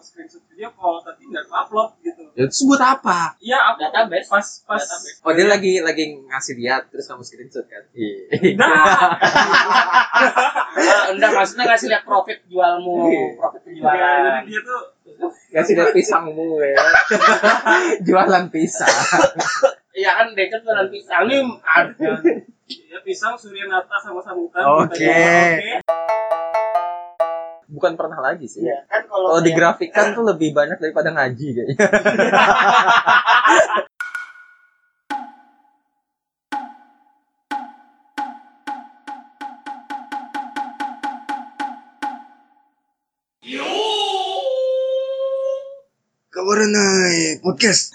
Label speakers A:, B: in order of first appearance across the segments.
A: screenshot video call tapi nggak aku upload gitu
B: Ya, terus buat apa?
A: iya aku
C: Database.
A: pas pas
C: Database.
B: Oh dia lagi lagi ngasih lihat terus kamu screenshot kan? Iya.
A: Nah,
C: Ah, enggak maksudnya ngasih lihat profit jualmu profit
A: ya, jadi
C: penjualan
A: dia tuh
B: Ngasih lihat pisangmu ya. Jualan pisang.
C: iya kan dia kan jualan pisang nih aduh.
A: ya hmm, pisang surya nata sama sambutan
B: Oke.
A: Kita jawab, oke.
B: Bukan pernah lagi sih.
C: Iya, kan kalau
B: Kalau
C: kayak-
B: digrafikan tuh lebih banyak daripada ngaji kayaknya.
D: Kabar naik podcast.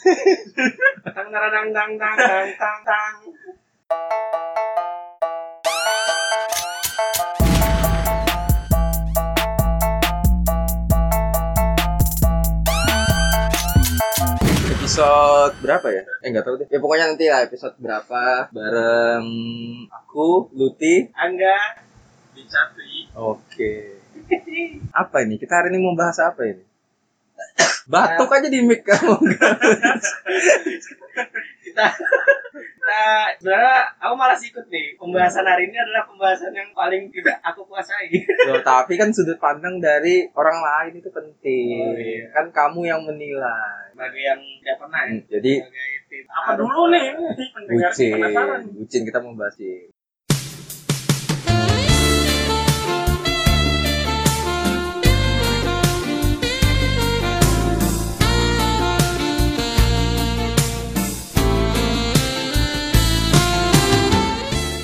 C: tang tang tang tang tang tang tang
B: Episode berapa ya? Eh nggak tahu deh. Ya pokoknya nanti lah episode berapa bareng aku Luti.
C: Angga
A: di Chatri.
B: Oke. Apa ini? Kita hari ini mau bahas apa ini? Batuk aja di mic kamu.
C: kita kita sebenarnya aku malas ikut nih pembahasan hari ini adalah pembahasan yang paling tidak aku kuasai
B: Loh, tapi kan sudut pandang dari orang lain itu penting.
C: Oh, iya.
B: Kan kamu yang menilai.
C: sebagai yang tidak pernah ya
B: Hmm, Jadi
C: sebagai tim
A: apa dulu nih pendengar
B: bucin,
A: penasaran
B: bucin kita mau bahas ini.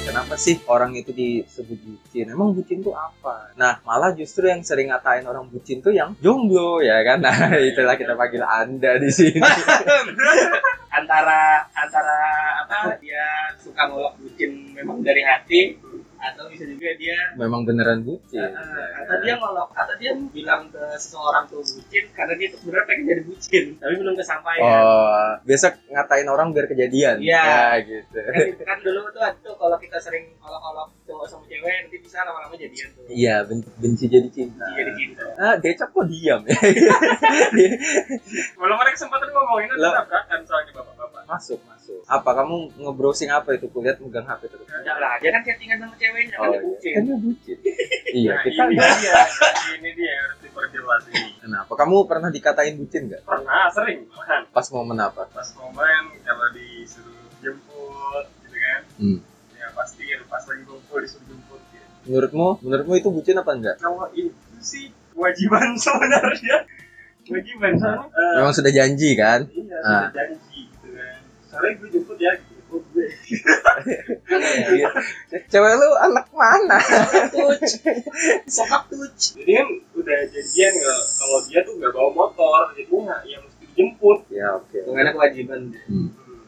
B: Kenapa sih orang itu disebut bucin? Emang bucin tuh apa? Nah, malah justru yang sering ngatain orang bucin tuh yang jomblo ya kan? Nah, itulah kita panggil Anda di sini.
C: antara antara apa dia suka ngolok bucin memang dari hati atau bisa juga dia
B: Memang beneran bucin.
C: eh, atau dia ngolok atau dia bilang ke seseorang tuh bucin karena dia tuh sebenarnya pengen jadi bucin tapi belum kesampaian
B: Oh, biasa ngatain orang biar kejadian.
C: Iya.
B: Ya, gitu.
C: kan, kan dulu tuh ada tuh kalau kita sering ngolok-ngolok cowok sama cewek nanti bisa lama-lama jadian tuh
B: Iya, ben- benci jadi cinta.
C: jadi cinta
B: Ah, Decap kok diam ya?
A: belum ada kesempatan ngomongin itu
B: Lah.
A: tabrakan soalnya bapak-bapak
B: masuk, masuk. Apa kamu nge-browsing apa itu? Kulihat megang HP terus.
C: Enggak lah, dia kan chattingan sama ceweknya kan
B: Oh,
C: dia
B: iya.
C: bucin.
B: Kan dia bucin. iya,
A: nah,
B: kita
A: ini
B: enggak.
A: dia ini dia harus diperjelas ini
B: Kenapa? Kamu pernah dikatain bucin nggak?
A: pernah sering malahan
B: Pas momen apa?
A: pas momen kalau disuruh jemput gitu kan
B: Hmm.
A: ya pasti ya, pas lagi kumpul disuruh jemput gitu.
B: Menurutmu, menurutmu itu bucin apa enggak?
A: kalau itu sih kewajiban sebenarnya kewajiban soalnya eh,
B: Memang sudah janji kan?
A: iya sudah
B: Ah.
A: janji gitu kan soalnya gue jemput ya gitu jemput gue
C: Iya.
B: Cewek lu anak mana?
C: Tuh, sokap tuh.
A: jadi kan udah jadian nggak- kalau dia tuh nggak bawa motor jadi nggak yang mesti dijemput
B: ya, oke.
C: Karena kewajiban deh.
B: Hmm.
A: Hmm.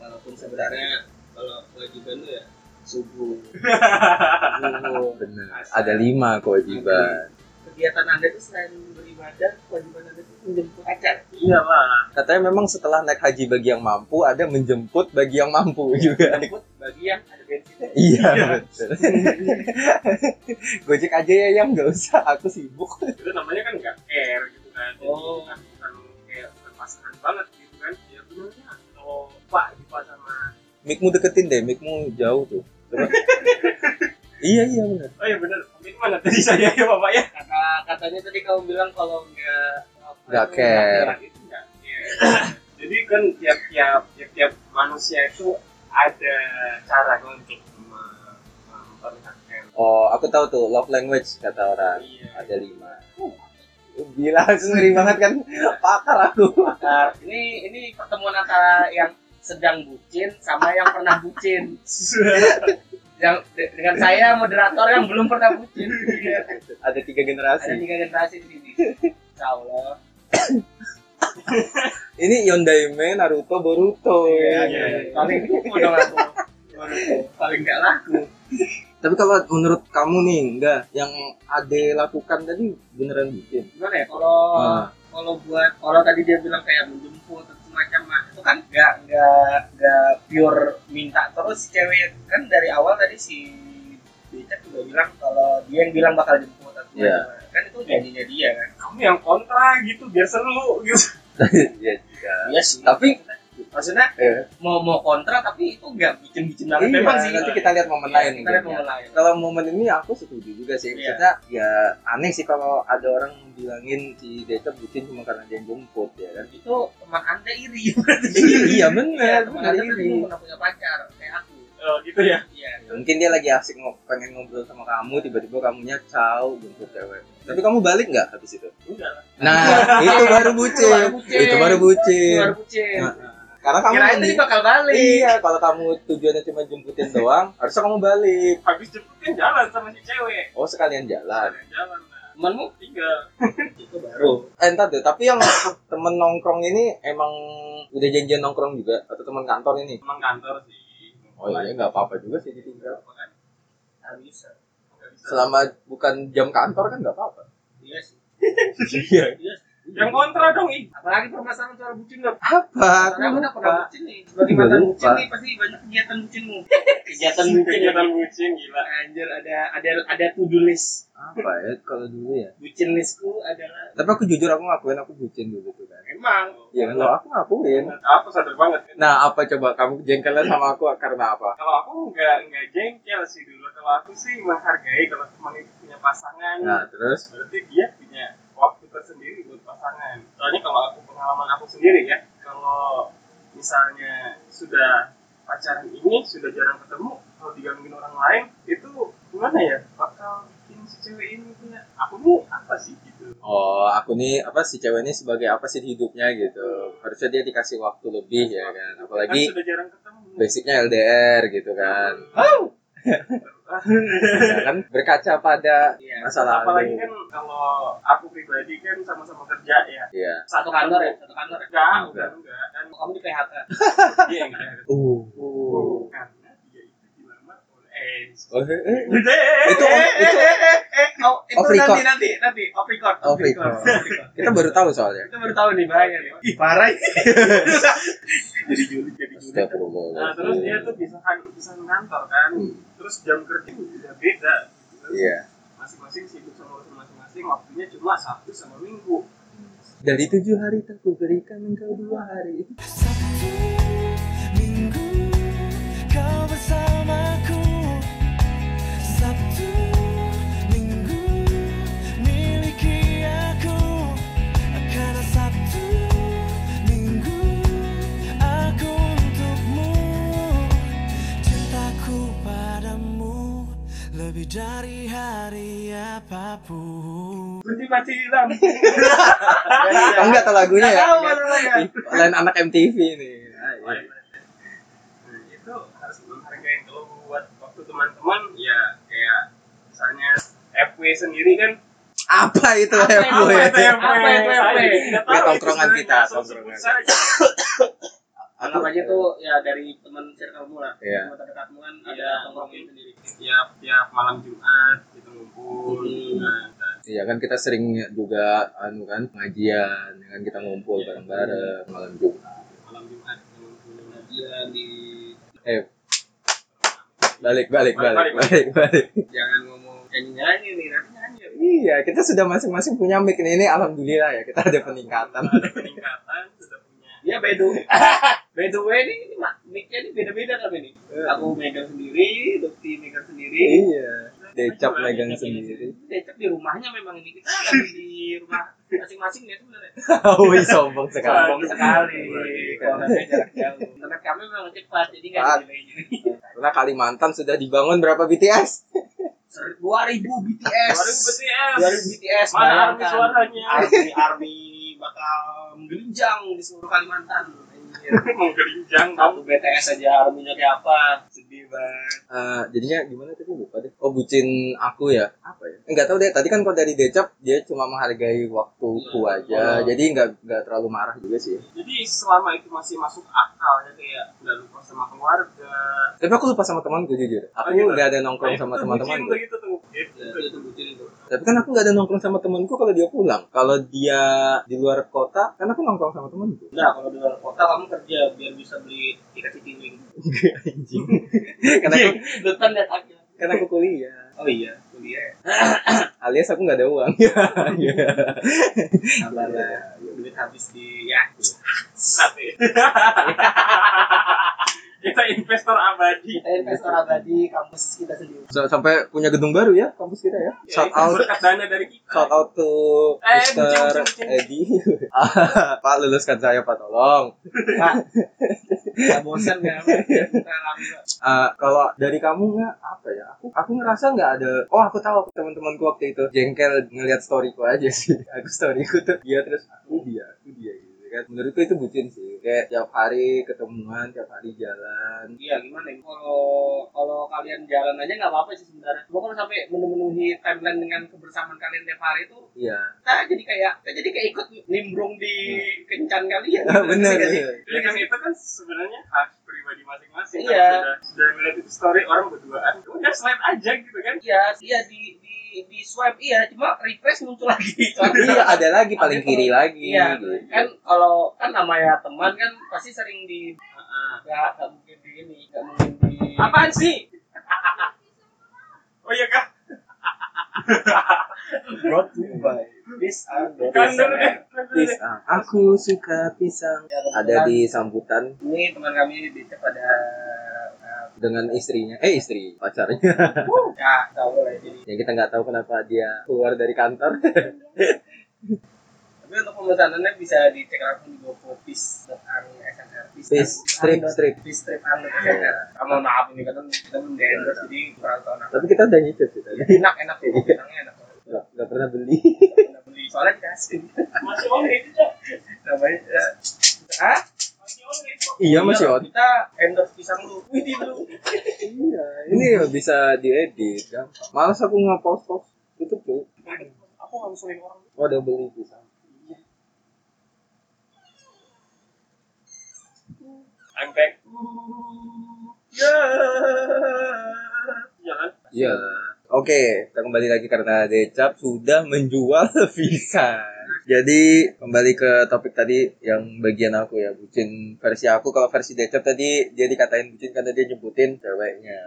C: Walaupun sebenarnya kalau kewajiban tuh ya subuh. Subuh.
B: Benar. Ada lima kewajiban.
C: Kegiatan Anda tuh selain beribadah, kewajiban Anda tuh menjemput pacar.
A: Iya iyalah
B: Katanya memang setelah naik haji bagi yang mampu, ada menjemput bagi yang mampu juga.
C: Menjemput bagi yang ada bensin.
B: Iya
A: Iya.
B: betul. Gojek aja ya yang nggak usah, aku sibuk.
A: itu namanya kan nggak care gitu kan jadi
C: Oh.
A: kan bukan kayak bukan pasangan banget gitu kan ya benernya kalau pak gitu sama
B: Mikmu deketin deh, mikmu jauh tuh. Coba. iya iya benar.
A: oh iya bener mungkin mana tadi saya ya bapak ya
C: Kata katanya tadi kamu bilang kalau nggak apa
B: Nggak
C: itu,
B: care.
C: nggak
A: itu nggak care. jadi kan tiap-tiap tiap-tiap manusia itu ada cara untuk me- memperlihatkan
B: Oh aku tahu tuh love language kata orang
A: Iya.
B: ada lima. Uh, Gila, ngeri banget kan pakar aku.
C: Nah, ini ini pertemuan antara yang sedang bucin sama yang pernah bucin. yang de- dengan saya moderator yang belum pernah bucin
B: Ada tiga
C: ada
B: generasi.
C: tiga generasi di sini Insya Allah
B: Ini Yondai Me, Naruto, Boruto.
A: iya, iya.
C: paling laku dong aku paling gak laku
B: Tapi kalau menurut kamu nih, enggak yang Ade lakukan tadi beneran bikin.
C: gimana ya kalau
B: Ah.
C: kalau buat kalau tadi dia bilang kayak menjemput atau semacam nah, itu kan gak gak gak pure minta terus si cewek kan dari awal tadi si Becak juga bilang kalau dia yang bilang bakal jemput atau
B: Iya.
C: gimana. kan itu janjinya dia kan
A: kamu kamu yang kontra gitu biar seru gitu
B: Iya juga.
C: Iya sih.
B: Tapi-
C: maksudnya
B: Eh,
C: mau mau kontra tapi itu nggak bikin-bikin banget
B: iya,
C: memang sih.
B: nanti kita lihat momen
C: Iya,
B: lain.
C: Kita lihat
B: mungkin, ya.
C: momen lain.
B: Kalau momen ini aku setuju juga sih.
C: Iya.
B: Kita ya aneh sih kalau ada orang bilangin si Deta bucin cuma karena dia jemput ya kan.
C: Itu teman anda iri.
B: iya benar,
C: teman
B: benar
C: anda kan tadi
B: ini.
C: belum pernah punya pacar kayak aku.
A: Eh, gitu ya
C: Iya.
B: Mungkin dia lagi asik ngo- pengen ngobrol sama kamu, tiba-tiba kamunya cau jemput cewek. Tapi kamu balik nggak habis itu?
A: udah lah
B: Nah,
C: Iya.
B: itu baru bucin. Itu baru bucin.
C: Luar kucing.
B: Nah, Karena kamu
C: Kirain tadi
B: mendi-
C: bakal balik.
B: Iya, kalau kamu tujuannya cuma jemputin doang, harusnya kamu balik.
A: habis jemputin jalan sama si cewek
B: Oh, sekalian jalan.
A: jalan lah
C: Temanmu
A: tinggal
C: itu baru.
B: Eh, entar deh, tapi yang temen nongkrong ini emang udah janjian nongkrong juga atau temen kantor ini?
A: emang kantor sih
B: Oh iya, nggak apa-apa juga sih ditinggal.
A: Bukan.
C: Habis.
A: Nggak bisa.
B: Selama bukan jam kantor kan nggak apa-apa.
C: Iya sih.
B: Iya.
A: yang kontra dong ih
C: Apalagi permasalahan soal bucin dong.
B: Apa?
C: Karena aku udah pernah bucin nih. Sebagai
B: Gua
C: mantan
B: lupa.
C: bucin nih pasti banyak kegiatan bucinmu. kegiatan ya,
A: kegiatan bucin ya, gila
C: Anjir ada ada ada to do list.
B: Apa ya kalau dulu ya?
C: Bucin listku adalah
B: Tapi aku jujur aku ngakuin aku bucin dulu tuh kan.
C: emang
B: Ya kalau aku ngakuin.
A: aku sadar banget kan
B: Nah, apa coba kamu jengkelnya sama aku karena apa?
A: kalau aku nggak nggak jengkel sih dulu kalau aku sih menghargai kalau teman itu punya pasangan
B: Nah, terus
A: berarti dia punya waktu tersendiri buat pasangan soalnya kalau aku pengalaman aku sendiri ya kalau misalnya sudah pacaran ini sudah jarang ketemu kalau digangguin orang lain itu gimana ya bakal bikin si cewek ini punya aku nih apa sih gitu
B: Oh, aku nih apa si cewek ini sebagai apa sih di hidupnya gitu. Harusnya dia dikasih waktu lebih ya kan.
A: kan
B: Apalagi
A: sudah jarang ketemu
B: basicnya LDR gitu kan. Ya kan berkaca pada
C: Iya.
B: masa lalu.
A: apalagi kan kalau aku pribadi kan sama-sama kerja ya
B: Iya.
C: satu kantor ya, satu kantor ya.
A: enggak enggak enggak kan
C: Kamu di PHK.
A: dia yang enggak
B: Uh.
A: karena dia itu dilamar oleh eh
B: Oh, eh, eh.
A: itu
B: Itu
C: Eh,
B: itu eh,
C: Oh, itu
B: Off
C: nanti
B: record.
C: nanti nanti off record.
B: Off record. kita baru tahu soalnya.
C: Itu baru tahu nih bahaya nih. Ih, parah. ini.
A: jadi juli jadi juli nah terus dia tuh pisahan pisahan kantor kan
B: Hmm.
A: terus jam kerja udah beda gitu kan.
B: Iya.
A: masing-masing sibuk sama urusan masing-masing waktunya cuma sabtu sama minggu
B: Dari tujuh hari tak kuberikan engkau dua hari.
E: Sabtu, Minggu, kau bersamaku. Sabtu, Minggu, miliki aku. Karena Sabtu, Minggu, aku untukmu. Cintaku padamu lebih dari hari apapun.
A: berhenti Nah, mati lampu
B: Ah, Enggak tahu lagunya ya.
C: Nggak tahu masalahnya.
B: Ih, Lain anak MTV nih. Ah, iya.
A: Nah, itu harus menghargai kalau buat waktu teman-teman ya kayak misalnya FW sendiri kan
B: Apa itu
C: Apa
B: ya, Bu,
C: itu,
B: ya?
C: itu ya? Apa itu,
A: Saya
C: FW?
A: juga tidak tahu
B: Ya,
A: itu
B: tongkrongan
A: sebenarnya,
B: kita,
A: langsung sebut
B: tongkrongan.
A: saja.
B: Aku-
C: Anggap aja tuh ya dari teman circle mu lah.
B: Iya.
C: Teman terdekatmu kan
A: Iya.
C: ada tongkrongin sendiri.
A: tiap tiap malam Jumat kita ngumpul
C: Hmm.
A: nah, dan
B: Iya kan kita sering juga anu kan pengajian, ya kan kita ngumpul bareng-bareng malam Jumat.
A: malam Jumat kita ngumpul
C: Dia di
B: Eh balik balik
A: Balik,
B: balik balik balik.
C: jangan ngomong nyanyi nyanyi nih nanti nyanyi.
B: Iya kita sudah masing-masing punya mic ini, ini alhamdulillah ya kita ada peningkatan.
A: ada peningkatan sudah punya
C: Dia bedo. bedo ini ini mah mic-nya ini beda-beda kan ini. Aku megang sendiri, Dokti megang sendiri.
B: iya. Decap megang sendiri.
C: Decep di rumahnya memang ini kita lagi di rumah masing-masing ya sebenarnya.
B: Wih Oh, iya, sombong
C: Sombong
B: sekali.
C: sekali. Kolamnya jarak jauh. Internet kami memang cepat jadi nggak ada delaynya.
B: Karena Kalimantan sudah dibangun berapa BTS?
C: 2000
A: 2000
C: BTS.
A: BTS
C: 2000 BTS.
A: mana army
C: bayangkan.
A: suaranya
C: Army Army bakal menggelinjang di seluruh Kalimantan. Anjir.
A: menggelincang kamu
C: Satu BTS aja arminya kayak apa? Sedih banget.
B: Eh, jadinya gimana tadi lupa deh. Oh bucin aku ya? Apa ya? Enggak tahu deh. Tadi kan kalau dari Decap dia cuma menghargai waktuku aja. Jadi nggak nggak terlalu marah juga sih.
A: jadi selama itu masih masuk akal ya kayak nggak lupa sama keluarga
B: Tapi aku lupa sama temanku jujur.
A: Oh,
B: Aku
A: gitu.
B: nggak ada nongkrong
A: Nah,
B: sama
A: itu
B: teman-teman. Iya,
A: bucin tuh gitu tuh Gitu.
C: Ya, itu bucin itu.
B: Tapi kan aku nggak ada nongkrong sama temanku kalau dia pulang. Kalau dia di luar kota, kan aku nongkrong sama temanku.
C: Nah, kalau di luar kota kamu kerja biar bisa beli tiket City Wing.
B: Anjing. karena aku
A: kan
C: Depan dan akhir.
B: karena aku kuliah.
C: Oh iya.
A: kuliah
B: alias aku nggak ada uang
A: sabar lah
C: Iya.
A: duit habis di ya satu ya kita investor abadi
C: Kita investor abadi kampus kita sendiri.
B: S- sampai punya gedung baru ya kampus kita ya
A: Ya,
B: shout
A: itu
B: out
A: berkat dana dari kita
B: shout out to
A: Eh,
B: Mr.
A: bucin, bucin, bucin.
B: Edi Ah, Pak luluskan saya Pak tolong
C: Pak, nggak bosan nggak? Kita alami Pak.
B: Eh, kalau dari kamu nggak apa ya aku aku ngerasa nggak ada oh aku tahu teman-temanku waktu itu jengkel ngelihat storyku aja sih aku storyku tuh dia terus aku dia aku dia gitu kan menurutku itu bucin sih kayak tiap hari ketemuan tiap hari jalan
C: Iya gimana ya? Kalau kalau kalian jalan aja nggak apa-apa sih sebenarnya. Cuma kalau sampai memenuhi timeline dengan kebersamaan kalian tiap hari itu,
B: iya
C: kita jadi kayak kita jadi kayak ikut nimbrung di kencan kalian.
B: bener
C: Hmm. Iya nggak sih?
B: bener.
A: Ya kan itu kan sebenarnya hak pribadi masing-masing.
C: Iya.
A: Kan? Sudah, sudah ngeliat itu story orang berduaan, udah slide aja gitu kan.
C: Iya, iya di di di swipe iya, cuma refresh muncul lagi.
B: iya ada lagi paling kiri lagi
C: Iya,
B: gitu.
C: kan kalau kan namanya teman kan pasti sering di
A: Heeh.
C: nggak nggak mungkin di ini, nggak mungkin di
A: Apaan sih? oh iya kah?
C: brought to you by this and
A: Kan dulu deh.
B: Pisang. Aku suka pisang.
C: Iya,
B: Ada di sambutan
C: ini teman kami di pada nah,
B: dengan istrinya. Eh istri pacarnya.
C: ya tahu lah jadi
B: Yang kita nggak tahu kenapa dia keluar dari kantor.
C: tapi untuk pemesanannya bisa dicek langsung di GoFoodPis dan SNR
B: Fish strip strip.
C: Fish Trip and SNR Ah, mohon maaf ini kan kita belum di endorse jadi kurang tahu nah.
B: Tapi kita udah nyicip sih tadi.
C: enak enak sih pisangnya enak
B: Nggak nggak pernah beli.
C: Nggak beli soalnya dikasih
A: Masih on itu aja.
C: namanya eh, ah
A: Masih on itu.
B: iya masih on.
C: kita endorse pisang lu wih di lu
B: Iya. Ini bisa diedit. Gampang. Males aku ngepost post. Itu tuh.
A: Aku nggak ngusulin orang.
B: Oh udah beli pisang.
A: I'm back. Ya. Ya kan?
B: Iya. Oke, kita kembali lagi karena Decap sudah menjual visa. Jadi kembali ke topik tadi yang bagian aku ya bucin versi aku kalau versi Decap tadi dia dikatain bucin karena dia nyebutin ceweknya.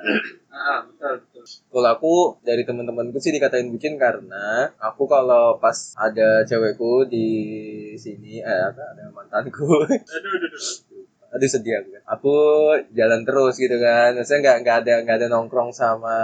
C: ah betul betul
B: Kalau aku dari teman-temanku sih dikatain bucin karena aku kalau pas ada cewekku di sini eh apa, ada mantanku
A: Aduh, aduh, aduh.
B: aduh sedih aku kan. Aku jalan terus gitu kan. Maksudnya nggak nggak ada nggak ada nongkrong sama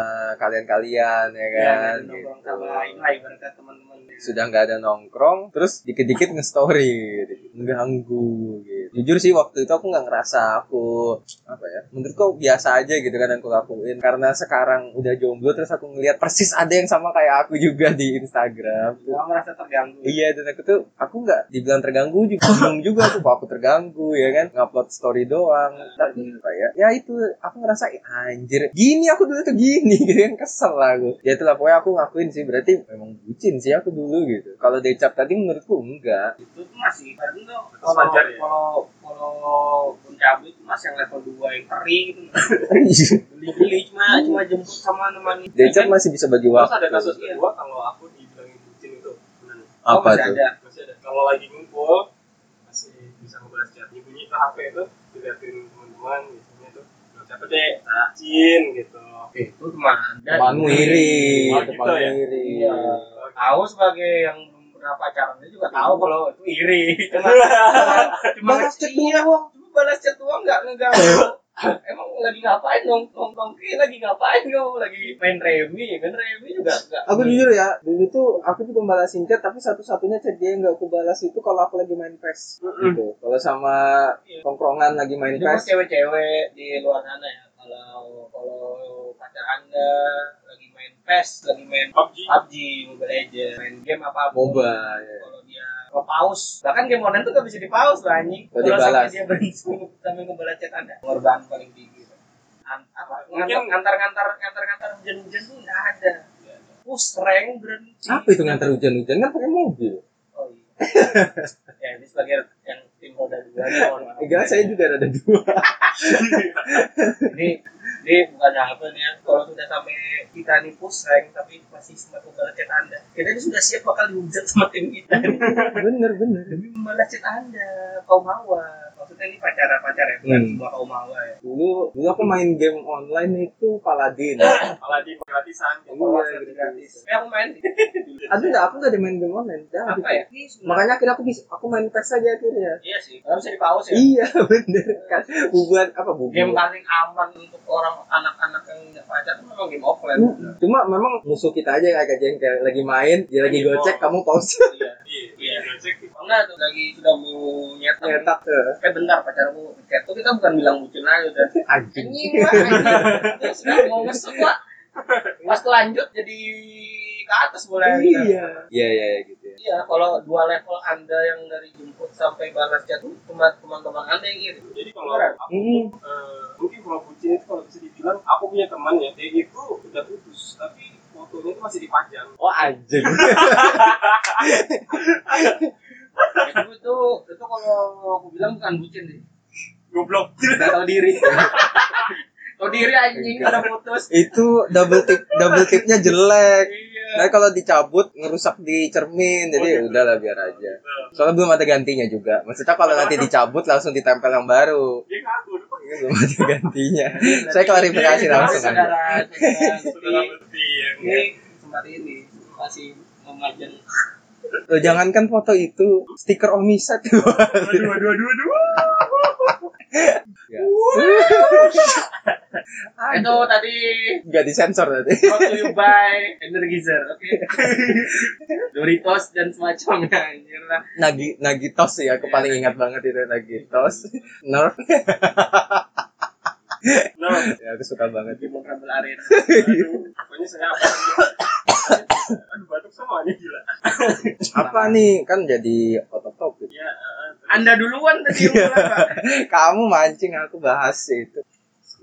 A: Iya,
B: kalian-kalian ya
C: ya
B: kan.
C: nongkrong
B: gitu.
C: sama Ina ibaratnya teman-teman
B: Sudah nggak ada nongkrong, terus dikit-dikit nge-story, mengganggu gitu. Jujur sih waktu itu aku nggak ngerasa aku apa ya. Menurutku biasa aja gitu kan yang aku lakuin. Karena sekarang udah jomblo terus aku ngelihat persis ada yang sama kayak aku juga di Instagram.
C: gua merasa terganggu
B: Iya dan aku tuh aku nggak dibilang terganggu juga bingung juga tuh kok aku terganggu ya kan ngupload story doang tapi apa ya ya itu aku ngerasa "Ih, anjir gini aku dulu tuh gini gitu kan kesel lah aku ya itulah pokoknya aku ngakuin sih berarti memang bucin sih aku dulu gitu kalau decap tadi menurutku enggak
C: itu tuh masih ibaratnya tuh
A: Terus
C: kalau
A: wajar ya?
C: kalau kalau mencabut itu masih yang level 2 yang kering gitu beli-beli
B: Hmm.
C: cuma cuma jemput sama teman Kan
B: decap masih bisa bagi
A: Kan Terus
B: waktu
A: ada kasus kedua kalau aku dibilangin bucin itu. Benar.
B: apa
C: masih
B: tuh
C: ada
A: masih ada kalau lagi ngumpul masih bisa ngebahas chat bunyi ke HP itu diliatin teman-teman biasanya tuh "Nah, siapa
C: Iya.
A: deh nah, Jin gitu
C: Eh, itu teman ada
B: Teman wiri,
A: Oh, gitu
B: teman
A: ya?
B: wiri.
C: Iya. tahu sebagai yang belum pernah pacaran dia juga tahu kalau itu iri cuma cuma
B: Iya. Balas chat doang.
C: cuma balas chat doang nggak ngeganggu emang lagi ngapain dong nong nongki lagi ngapain kamu lagi main remi main remi juga nggak
B: Aku jujur ya, dulu tuh aku juga balasin chat, tapi satu-satunya chat dia yang gak aku balas itu kalau aku lagi main PES gitu. Kalau sama
C: Iya.
B: tongkrongan lagi main
C: Itu
B: PES,
C: mas cewek-cewek di luar sana ya. Kalau kalau pacar anda lagi main PES, lagi main
A: PUBG
C: PUBG, Mobile Legends, main game apa
B: MOBA. ya.
C: Kalau dia ke pause, bahkan game online tuh gak bisa di pause lah anjing.
B: Kalau
C: Kalau sampai
B: dibalas.
C: dia berhenti sampai ngebalas chat anda, korban paling tinggi. An- apa ngantar
A: Mungkin-
C: ngantar ngantar ngantar ngantar hujan hujan tuh nggak ada. Push rank berhenti.
B: Apa itu ngantar hujan-hujan kan pakai mobil?
C: Oh iya. ya ini sebagai yang tim roda dua nih, mohon maaf.
B: Enggak, saya juga ada dua.
C: ini ini bukan apa nih ya kalau sudah sampai kita nih push rank tapi masih sempat membalas chat anda kita ini sudah siap bakal dihujat sama tim kita nih
B: bener bener.
C: demi membalas chat anda kaum hawa kaum maksudnya ini pacar-pacar ya bukan
B: Hmm.
C: sebuah kaum hawa ya
B: dulu dulu aku main game online itu Paladin
C: Iya,
A: malah di gratisan
B: Iya,
A: gitu.
B: gitu.
C: tapi aku main sih
B: aduh nggak aku nggak ada main game online Udah,
C: iya. apa
B: gitu.
C: ya ini sebenarnya
B: makanya akhirnya aku bisa aku main PES aja akhirnya
C: iya sih nggak bisa dipaus ya
B: iya bener kan bubuan apa bubuan
C: game paling aman untuk orang anak-anak yang nggak pacar itu memang game offline
B: Hmm, Cuma memang musuh kita aja yang agak jengkel lagi main, dia lagi
A: Lagi
B: gocek,
A: mau.
B: kamu pause
C: iya
A: Iya, iya, cek di
C: enggak tuh lagi sudah mau nyetak
B: nyetak tuh.
C: eh bentar pacarku ngechat tuh kita bukan bilang bucin aja udah
B: Anjing.
C: anjing lah terus udah mau ngesek lah pas lanjut jadi ke atas boleh
B: Iya. Iya iya iya, gitu. ya.
C: Iya, kalau dua level Anda yang dari jemput sampai balas chat tuh cuma teman-teman Anda yang iri.
A: Jadi kalau aku
B: Hmm.
A: eh, mungkin kalau bucin itu kalau bisa dibilang aku punya teman ya dia itu udah putus tapi fotonya itu masih dipajang.
B: Oh anjing.
C: Itu itu, itu kalau aku bilang bukan bucin sih.
A: Goblok.
C: Nggak tahu diri. tahu diri anjing udah putus.
B: Itu double tip double tipnya jelek.
C: Iya.
B: Nah kalau dicabut ngerusak di cermin, jadi udahlah biar aja. Soalnya belum ada gantinya juga. Maksudnya kalau nanti dicabut langsung ditempel yang baru.
A: Dia ngaku lu Pak.
B: Ini Belum ada gantinya. Saya klarifikasi langsung. kan? Iya, aja.
C: Saudara,
A: Saudara ya.
C: saudara, Suti,
A: Lutfi yang
C: ini sempat ini masih memajang.
B: Loh, jangankan foto itu, stiker omiset. Iya.
A: Aduh, aduh, aduh, aduh.
C: Itu tadi
B: Gak disensor nanti.
C: brought to you by Energizer, oke? Doritos dan semacamnya, anjir lah.
B: Nagi Nagitos sih aku paling ingat banget itu Nagitos. Nerf
A: Nah,
B: ya aku suka banget.
C: Di Mobile Arena.
A: aduh. Pokoknya saya apa? Aduh, batuk semuanya gila.
B: Apa nih kan jadi otot topik.
A: Ya, eh, terus.
C: Anda duluan tadi
B: Iya.
C: yang mulai, iya, Pak.
B: Kamu mancing aku bahas itu.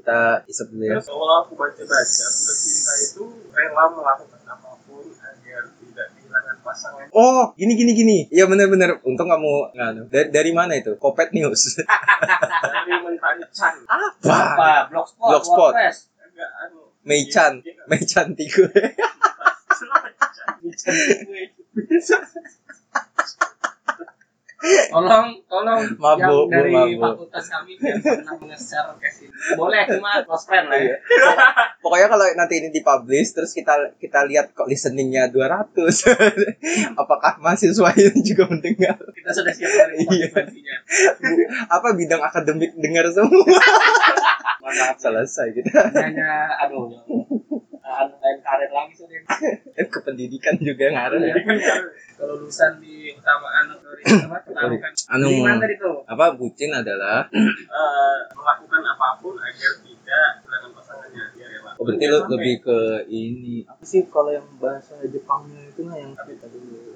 B: Kita isep dulu ya.
A: Terus kalau aku baca-baca, bercinta itu rela melakukan apapun agar tidak kehilangan pasangan.
B: Oh, gini gini gini. Iya bener-bener. Untung kamu nganu. Dari, dari mana itu? Kopet News.
A: Dari mentari Chan,
B: Apa?
C: Apa? Blogspot,
B: Blogspot.
C: WordPress.
A: agak anu.
B: Meichan,
A: Dia- dia-
B: Meichan Tigo.
C: Tolong, tolong
B: Mabuk,
C: yang dari
B: mabuk.
C: fakultas kami yang pernah mengeser ke sini. Boleh cuma close friend lah
B: Iya.
C: ya.
B: Pokoknya kalau nanti ini dipublish terus kita kita lihat kok listeningnya 200. Apakah mahasiswa ini juga mendengar?
C: Kita sudah siap dari
B: Iya.
C: konsekuensinya.
B: Apa bidang akademik dengar semua?
C: Mohon maaf salah.
B: Selesai kita.
C: Hanya aduh. ya Allah. Tahan lain karir lagi sudah.
B: Eh, Kependidikan juga ngaruh
C: Iya.
B: ya.
C: Kalau lulusan di utamaan dari apa? Pertaruhan.
B: Anu.
C: Di mana tadi tuh?
B: Apa bucin adalah?
A: eh, melakukan apapun agar tidak kehilangan pasangannya. Dia rela.
B: Oh, berarti lu lebih ke ini. Apa sih kalau yang bahasa Jepangnya itu nah yang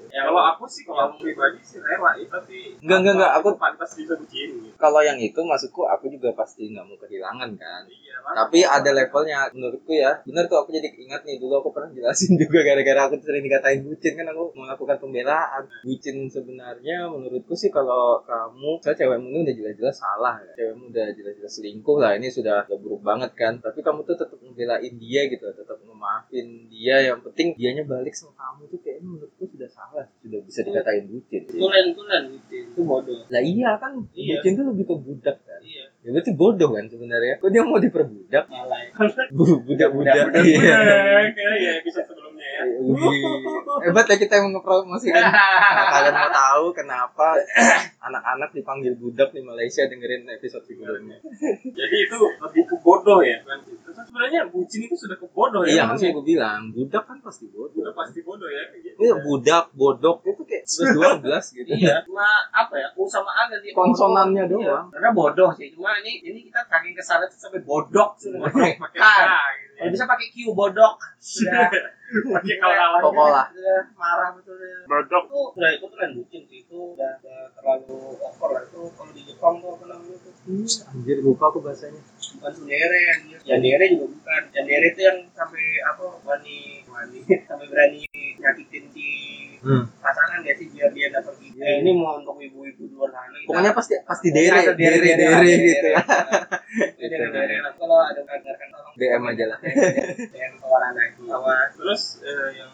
A: Ya, kalau aku sih, kalau aku pribadi sih rela, ya, tapi
B: Enggak, enggak, enggak, aku-
A: aku pantas bisa begini. Gitu.
B: kalau yang itu maksudku aku juga pasti nggak mau kehilangan kan.
A: Iya,
B: Tapi ada levelnya menurutku ya. Bener tuh aku jadi ingat nih dulu aku pernah jelasin juga gara-gara aku sering dikatain bucin kan aku melakukan pembelaan. Bucin sebenarnya menurutku sih kalau kamu, saya cewekmu ini udah jelas-jelas salah ya. Cewekmu udah jelas-jelas selingkuh lah ini sudah udah buruk banget kan. Tapi kamu tuh tetap ngebelain dia gitu, tetap memaafin dia. Yang penting dianya balik sama kamu tuh kayaknya menurutku sudah salah, sudah bisa dikatain bucin.
C: Tulen, tulen gitu. Itu bodoh.
B: Lah iya kan,
A: Iya.
B: bucin tuh lebih ke budak kan.
C: Iya.
B: Ya berarti bodoh kan sebenarnya. Kok dia mau diperbudak?
C: Malah.
B: Bu- budak-budak
C: Budak-budak.
B: iya
A: Iya, iya, bisa sebelumnya ya.
B: Wih. hebat ya kita yang ngepromosikan Kalau kalian mau tahu kenapa anak-anak dipanggil budak di Malaysia dengerin episode sebelumnya
A: Jadi itu lebih ke bodoh ya kan. Terus sebenarnya bucin itu sudah ke bodoh ya.
B: iya
A: emang
B: maksudnya
A: ya?
B: gue bilang budak kan pasti bodoh
A: Udah pasti bodoh ya. kayak gitu.
B: Iya, budak bodok itu kayak dua belas gitu
C: Iya, cuma apa ya? U sama A ganti
B: Konsonannya
C: bodoh.
B: doang.
C: Iya, Karena bodoh sih. Cuma ini ini kita saking kesana tuh sampai bodok semua.
A: Pakai pakai
C: Kan.
A: A gitu ya.
C: Kalau bisa pakai Q bodok.
B: Iya.
C: Sudah.
A: Pakai kalah
B: Pokola.
C: Sudah marah betul. ya.
A: Bodoh.
C: Itu udah itu keren bucin sih itu udah udah terlalu over lah itu kalau di Jepang tuh apa namanya tuh
B: Hmm, anjir lupa aku bahasanya
C: bukan sundere yang yandere juga bukan yandere itu yang sampai apa wani wani sampai berani nyakitin di
B: Hmm.
C: pasangan ya sih biar dia nggak pergi
B: Iya.
C: Eh, ini mau untuk ibu-ibu di luar sana kita-
B: pokoknya pasti pasti dere dere dere gitu ya
C: dere dere lah kalau ada kagarkan tolong
B: DM aja lah
C: DM kawan anak gitu? awas
A: Terus eh, yang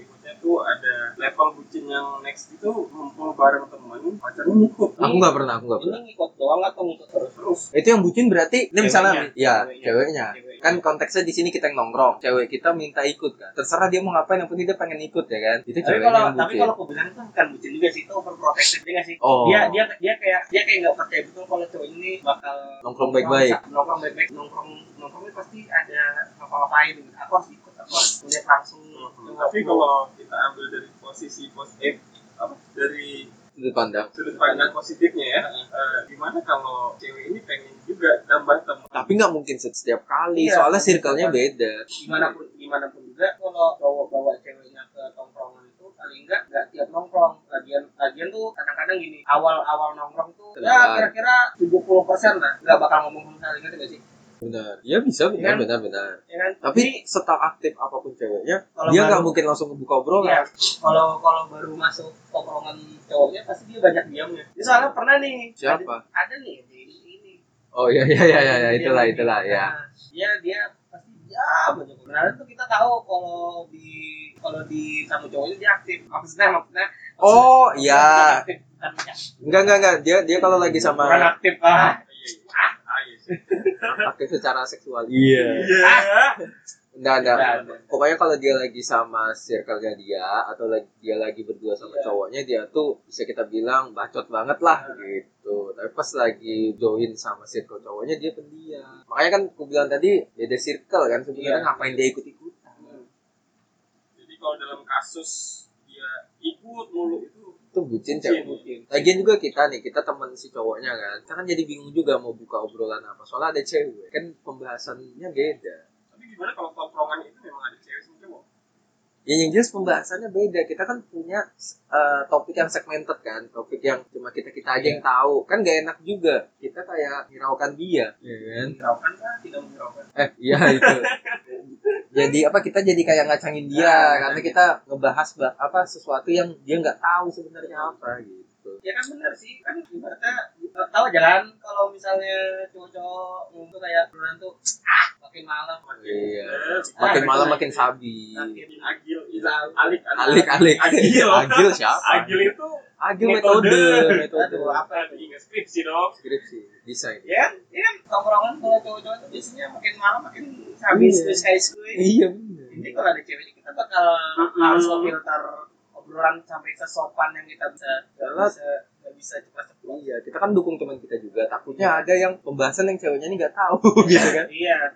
A: berikutnya tuh itu ada level bucin yang next itu ngumpul bareng temen pacarnya ngikut
B: Aku nggak pernah, aku nggak pernah.
C: Ini ngikut doang atau ngikut terus?
A: terus
B: Itu yang bucin berarti, ini misalnya,
A: Ceweknya.
B: ya
A: Ceweknya.
B: ceweknya.
A: Ceweknya.
B: Kan konteksnya di sini kita yang nongkrong, cewek kita minta ikut kan. Terserah dia mau ngapain, yang penting dia pengen ikut ya kan. Itu
C: Tapi
B: ceweknya
C: kalau
B: yang
C: tapi
B: bucin.
C: kalau aku bilang itu bukan bucin juga sih, itu overprotective juga sih.
B: Oh,
C: Dia dia dia kayak dia kayak nggak percaya betul kalau cowok ini bakal
B: nongkrong baik-baik.
C: nongkrong baik-baik nongkrong nongkrongnya pasti ada ngapa-ngapain gitu. Aku harus ikut, aku harus melihat langsung.
B: Hmm.
A: tapi kalau kita ambil dari posisi positif apa dari
B: Sudut pandang.
A: sudut pandang positifnya ya eh, gimana kalau cewek ini pengen juga tambah teman
B: Tapi nggak mungkin setiap kali,
C: Iya,
B: soalnya circle-nya beda.
C: gimana pun gimana pun juga kalau cowok bawa ceweknya ke tongkrongan itu paling enggak enggak tiap nongkrong lagian lagian tuh kadang-kadang gini awal awal nongkrong tuh
B: Kenalan.
C: ya kira-kira 70 lah nggak bakal ngomong sama sekali ngerti nggak sih
B: Benar. Ya bisa, benar,
C: Kan?
B: benar, benar.
C: ya kan Jadi,
B: Tapi setelah aktif apapun ceweknya,
C: kalau
B: dia
C: baru-
B: nggak mungkin langsung buka obrolan.
C: Iya, kalau kalau baru masuk tongkrongan cowoknya pasti dia banyak diamnya Ini soalnya pernah nih
B: Siapa?
C: ada, ada nih di ini
B: Oh iya iya iya iya ya, itulah itulah ya.
C: Nah, dia dia pasti ya banyak benar itu kita tahu kalau di kalau di tamu cowoknya dia aktif maksudnya maksudnya
B: Oh,
C: maksudnya
B: iya.
C: bukan aktif, bukan punya.
B: Enggak enggak enggak dia dia kalau lagi
C: Bukan
B: sama
C: aktif ah
A: ah iya sih
B: aktif secara seksual. Iya. Enggak enggak.
C: Enggak, enggak.
B: Pokoknya kalau dia lagi sama circle-nya dia atau lagi dia lagi berdua sama
C: Iya.
B: cowoknya dia tuh bisa kita bilang bacot banget lah gitu. Tapi pas lagi join sama circle cowoknya dia pendiam. Makanya kan aku bilang tadi beda circle kan sebenarnya
C: Iya.
B: ngapain dia ikut-ikutan.
A: jadi kalau dalam kasus dia ikut mulu itu
B: Itu bucin
A: Bucin.
B: cewek. Lagian juga kita nih, kita teman si cowoknya kan. Kita kan jadi bingung juga mau buka obrolan apa. Soalnya ada cewek. Kan pembahasannya beda.
A: tapi gimana kalau tongkrongan itu memang ada cewek sama cowok
B: Ya yang jelas pembahasannya beda. Kita kan punya eh, topik yang segmented kan. Topik yang cuma kita-kita aja yang tahu. Kan gak enak juga. Kita kayak hiraukan dia. Iya kan?
C: menghiraukan kan tidak menghiraukan
B: Eh, iya itu. jadi apa kita jadi kayak ngacangin dia
C: Nah,
B: karena kita ngebahas bah- apa sesuatu yang dia nggak tahu sebenarnya apa gitu.
C: ya kan benar sih kan ibaratnya tahu jalan kalau misalnya cowok-cowok ngumpul kayak bulan tuh ah makin malam
B: Iya.
A: Eh,
B: Makin
C: Ah,
B: malam
C: itu
B: makin sabi.
A: makin agil ilah alik
B: Alik alik.
A: agil
B: Agil siapa?
A: agil itu
B: Agil
A: Metode.
B: metode. Metode.
C: aduh apa
A: tadi ingat skripsi dong
B: Skripsi. Desain.
C: ya ya kan tongkrongan kalau cowok-cowok itu biasanya makin malam makin habis
B: Iya.
C: terus kayak sekali
B: Iya.
C: ini kalau ada ceweknya kita bakal
A: Mm-mm.
C: harus filter obrolan sampai sesopan yang kita bisa nggak
B: Karena-
C: bisa nggak bisa cepat-cepat
B: Iya, kita kan dukung teman kita juga.
C: Ya,
B: Takutnya ada yang pembahasan yang ceweknya ini nggak tahu gitu kan.
C: iya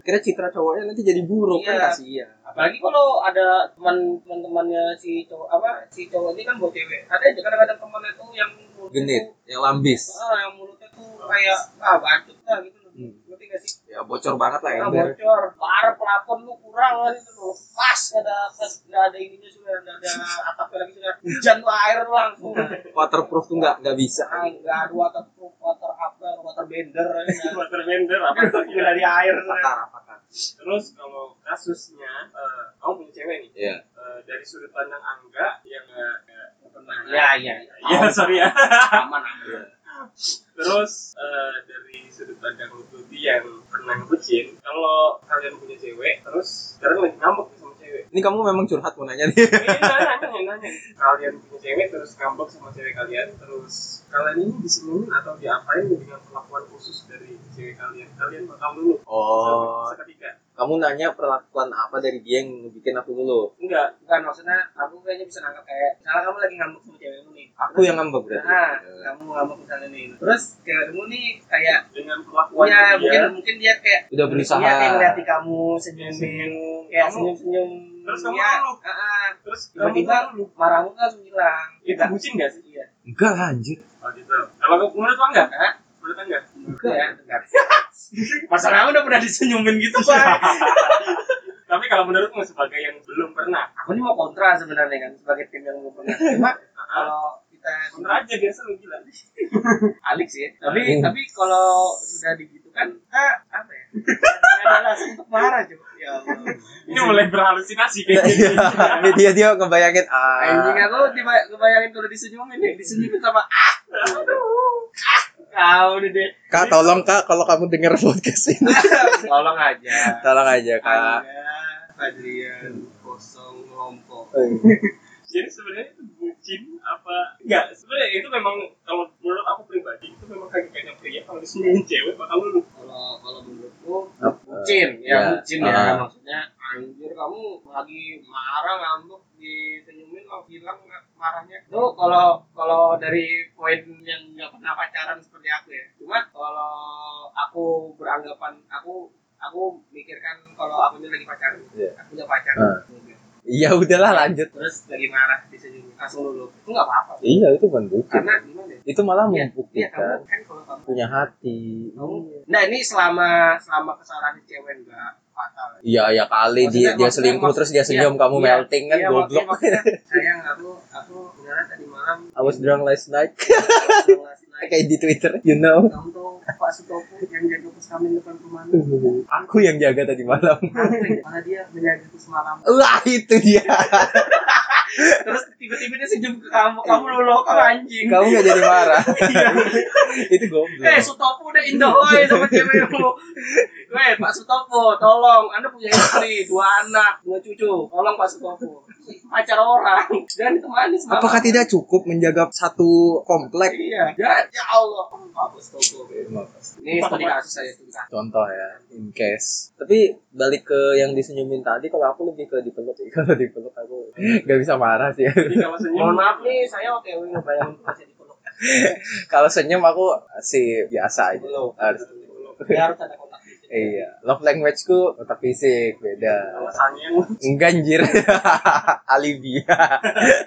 B: Kira citra cowoknya nanti jadi buruk
C: Iya.
B: kan kasihan.
C: apalagi kalau ada teman teman-temannya si cowok apa si cowok ini kan buat cewek ada aja kadang-kadang temannya tuh yang mulutnya
B: Genit,
C: tuh-
B: yang lambis.
C: ah, yang mulutnya tuh kayak ah bacot lah gitu loh
B: Hmm.
C: ngerti gak sih
B: Ya bocor banget lah
C: Ah,
B: ember.
C: bocor parah pelafon lu kurang kan itu loh pas nggak ada nggak ada ininya sudah nggak ada atapnya lagi sudah hujan tuh air langsung
B: Hmm. Waterproof tuh nggak nggak bisa.
C: ah nggak ada waterproof water apa water bender
A: waterbender apa tuh
C: nggak dari air sudah.
B: Pakar, pakar.
A: Iya. terus kalau kasusnya eh, kamu punya cewek nih
B: Iya.
A: Eh, dari sudut pandang angga yang eh,
C: ya ya ya.
A: ya
B: Iya.
A: sorry ya
C: aman aman
A: Terus eh, dari sudut pandang Lutfi yang pernah ngebucin, kalau kalian punya cewek, terus sekarang lagi ngambek nih sama cewek.
B: Ini kamu memang curhat mau nanya nih.
A: Eh, nanya, nanya, nanya. Kalian punya cewek terus ngambek sama cewek kalian, terus kalian ini disenengin atau diapain dengan perlakuan khusus dari cewek kalian? Kalian bakal dulu.
B: Oh,
A: Seketika.
B: kamu nanya perlakuan apa dari dia yang bikin aku dulu?
A: Enggak.
C: bukan maksudnya aku kayaknya bisa nangkap kayak misalnya kamu lagi ngambek sama cewekmu nih
B: Aku yang ngambek berarti.
C: nah
B: Iya.
C: kamu ngambek misalnya nih terus cewekmu nih kayak
A: Dengan perlakuan
C: ya
A: dia,
C: mungkin mungkin dia kayak
B: Udah berusaha.
C: dia Iya, kayak ngeliatin kamu senyumin kayak
A: Kamu-
C: senyum senyum
A: Terus kamu ngeluh. terus kamu
C: ah. tiba-tiba
A: dulu.
C: marahmu kan langsung hilang
A: Itu
C: Nggak-
A: bucin nggak sih?
C: iya
B: Enggak lah, anjir.
A: Oh gitu. Kalau menurut lo enggak?
C: Hah?
A: Menurut lo enggak?
C: ya dengar masalahnya udah pernah disenyumin gitu pak
A: Tapi kalau menurutmu sebagai yang belum pernah,
C: aku ini mau kontra sebenarnya kan sebagai tim yang belum pernah cuma kalau kita
A: bener aja biasa lu gila.
C: alik sih ya. tapi
B: Hmm.
C: tapi kalau sudah digitu kan kita apa ya nggak ada alasan untuk marah coba ya Allah
A: Ini mulai berhalusinasi kayak gini.
B: Iya. Dia- dia dia ngebayangin
C: anjing
B: ah.
C: aku diba- kebayangin kalau disenyumin nih disenyumin sama ah aduh ah kau nih deh
B: Kak, tolong Kak kalau kamu dengar podcast ini.
C: tolong aja
B: Tolong aja, Kak.
C: Anda Adrian kosong kelompok
A: jadi sebenarnya itu bucin apa enggak sebenarnya itu memang kalau menurut aku pribadi itu memang kayak kayaknya pria kalau disenengin cewek bakal lu
C: kalau kalau menurutku
B: Apa?
C: bucin
B: Ya,
C: ya bucin ya
B: ah.
C: maksudnya anjir kamu lagi marah ngambek disenyumin lo hilang nggak marahnya itu kalau kalau dari poin yang nggak pernah pacaran seperti aku ya cuma kalau aku beranggapan aku aku mikirkan kalau aku ini lagi pacaran
B: Iya.
C: aku udah pacar
B: Ah. Iya udahlah lanjut.
C: terus lagi marah disenyumin langsung lulu itu nggak apa-apa
B: Iya itu bukan bucin.
C: karena gimana ya
B: Itu malah
C: Iya, iya
B: membuktikan
C: kamu kan kalau kamu
B: punya hati.
C: Kamu- Nah ini selama selama kesalahan cewek enggak fatal.
B: Iya ya kali dia
C: Maksudnya-
B: dia
C: maksudnya-
B: selingkuh terus dia
C: iya,
B: senyum kamu
C: iya,
B: melting kan
C: Iya,
B: goblok.
C: maksudnya- maksudnya, Sayang aku aku sebenarnya tadi malam
B: I was drunk last night
C: last night.
B: kayak di Twitter, you know.
C: Kamu tahu Pak Sutopo yang jaga pos kami depan rumah
B: Aku yang jaga tadi malam.
C: Karena dia menjaga pos malam.
B: Wah itu dia.
C: Terus tiba-tiba dia senyum ke kamu, kamu
B: Iya.
C: lulu kamu anjing.
B: Kamu gak jadi marah. itu
C: Iya. Eh
B: goblok.
C: Sutopo udah indohoy sama cewekmu. Weh Pak Sutopo, tolong Anda punya istri, dua anak, dua cucu. Tolong Pak Sutopo. Pacar orang dan ditemani semalam.
B: Apakah tidak cukup menjaga satu komplek?
C: Iya. Ya, ya Allah. Pak Sutopo. Ini studi kasus saya studi kasus.
B: Contoh ya, in case. Tapi balik ke yang disenyumin tadi, kalau aku lebih ke dipeluk. sih. Kalau dipeluk aku gak bisa marah sih.
A: jadi kalau
C: Mohon
A: senyum
C: maaf nih, saya OTW ngebayangin masih dipeluk.
B: kalau senyum aku sih biasa aja.
C: Belum.
B: Harus.
C: Ya harus ada kontak fisik.
B: Iya, love language ku otak fisik beda.
A: alasannya
B: Enggak anjir. Alibi.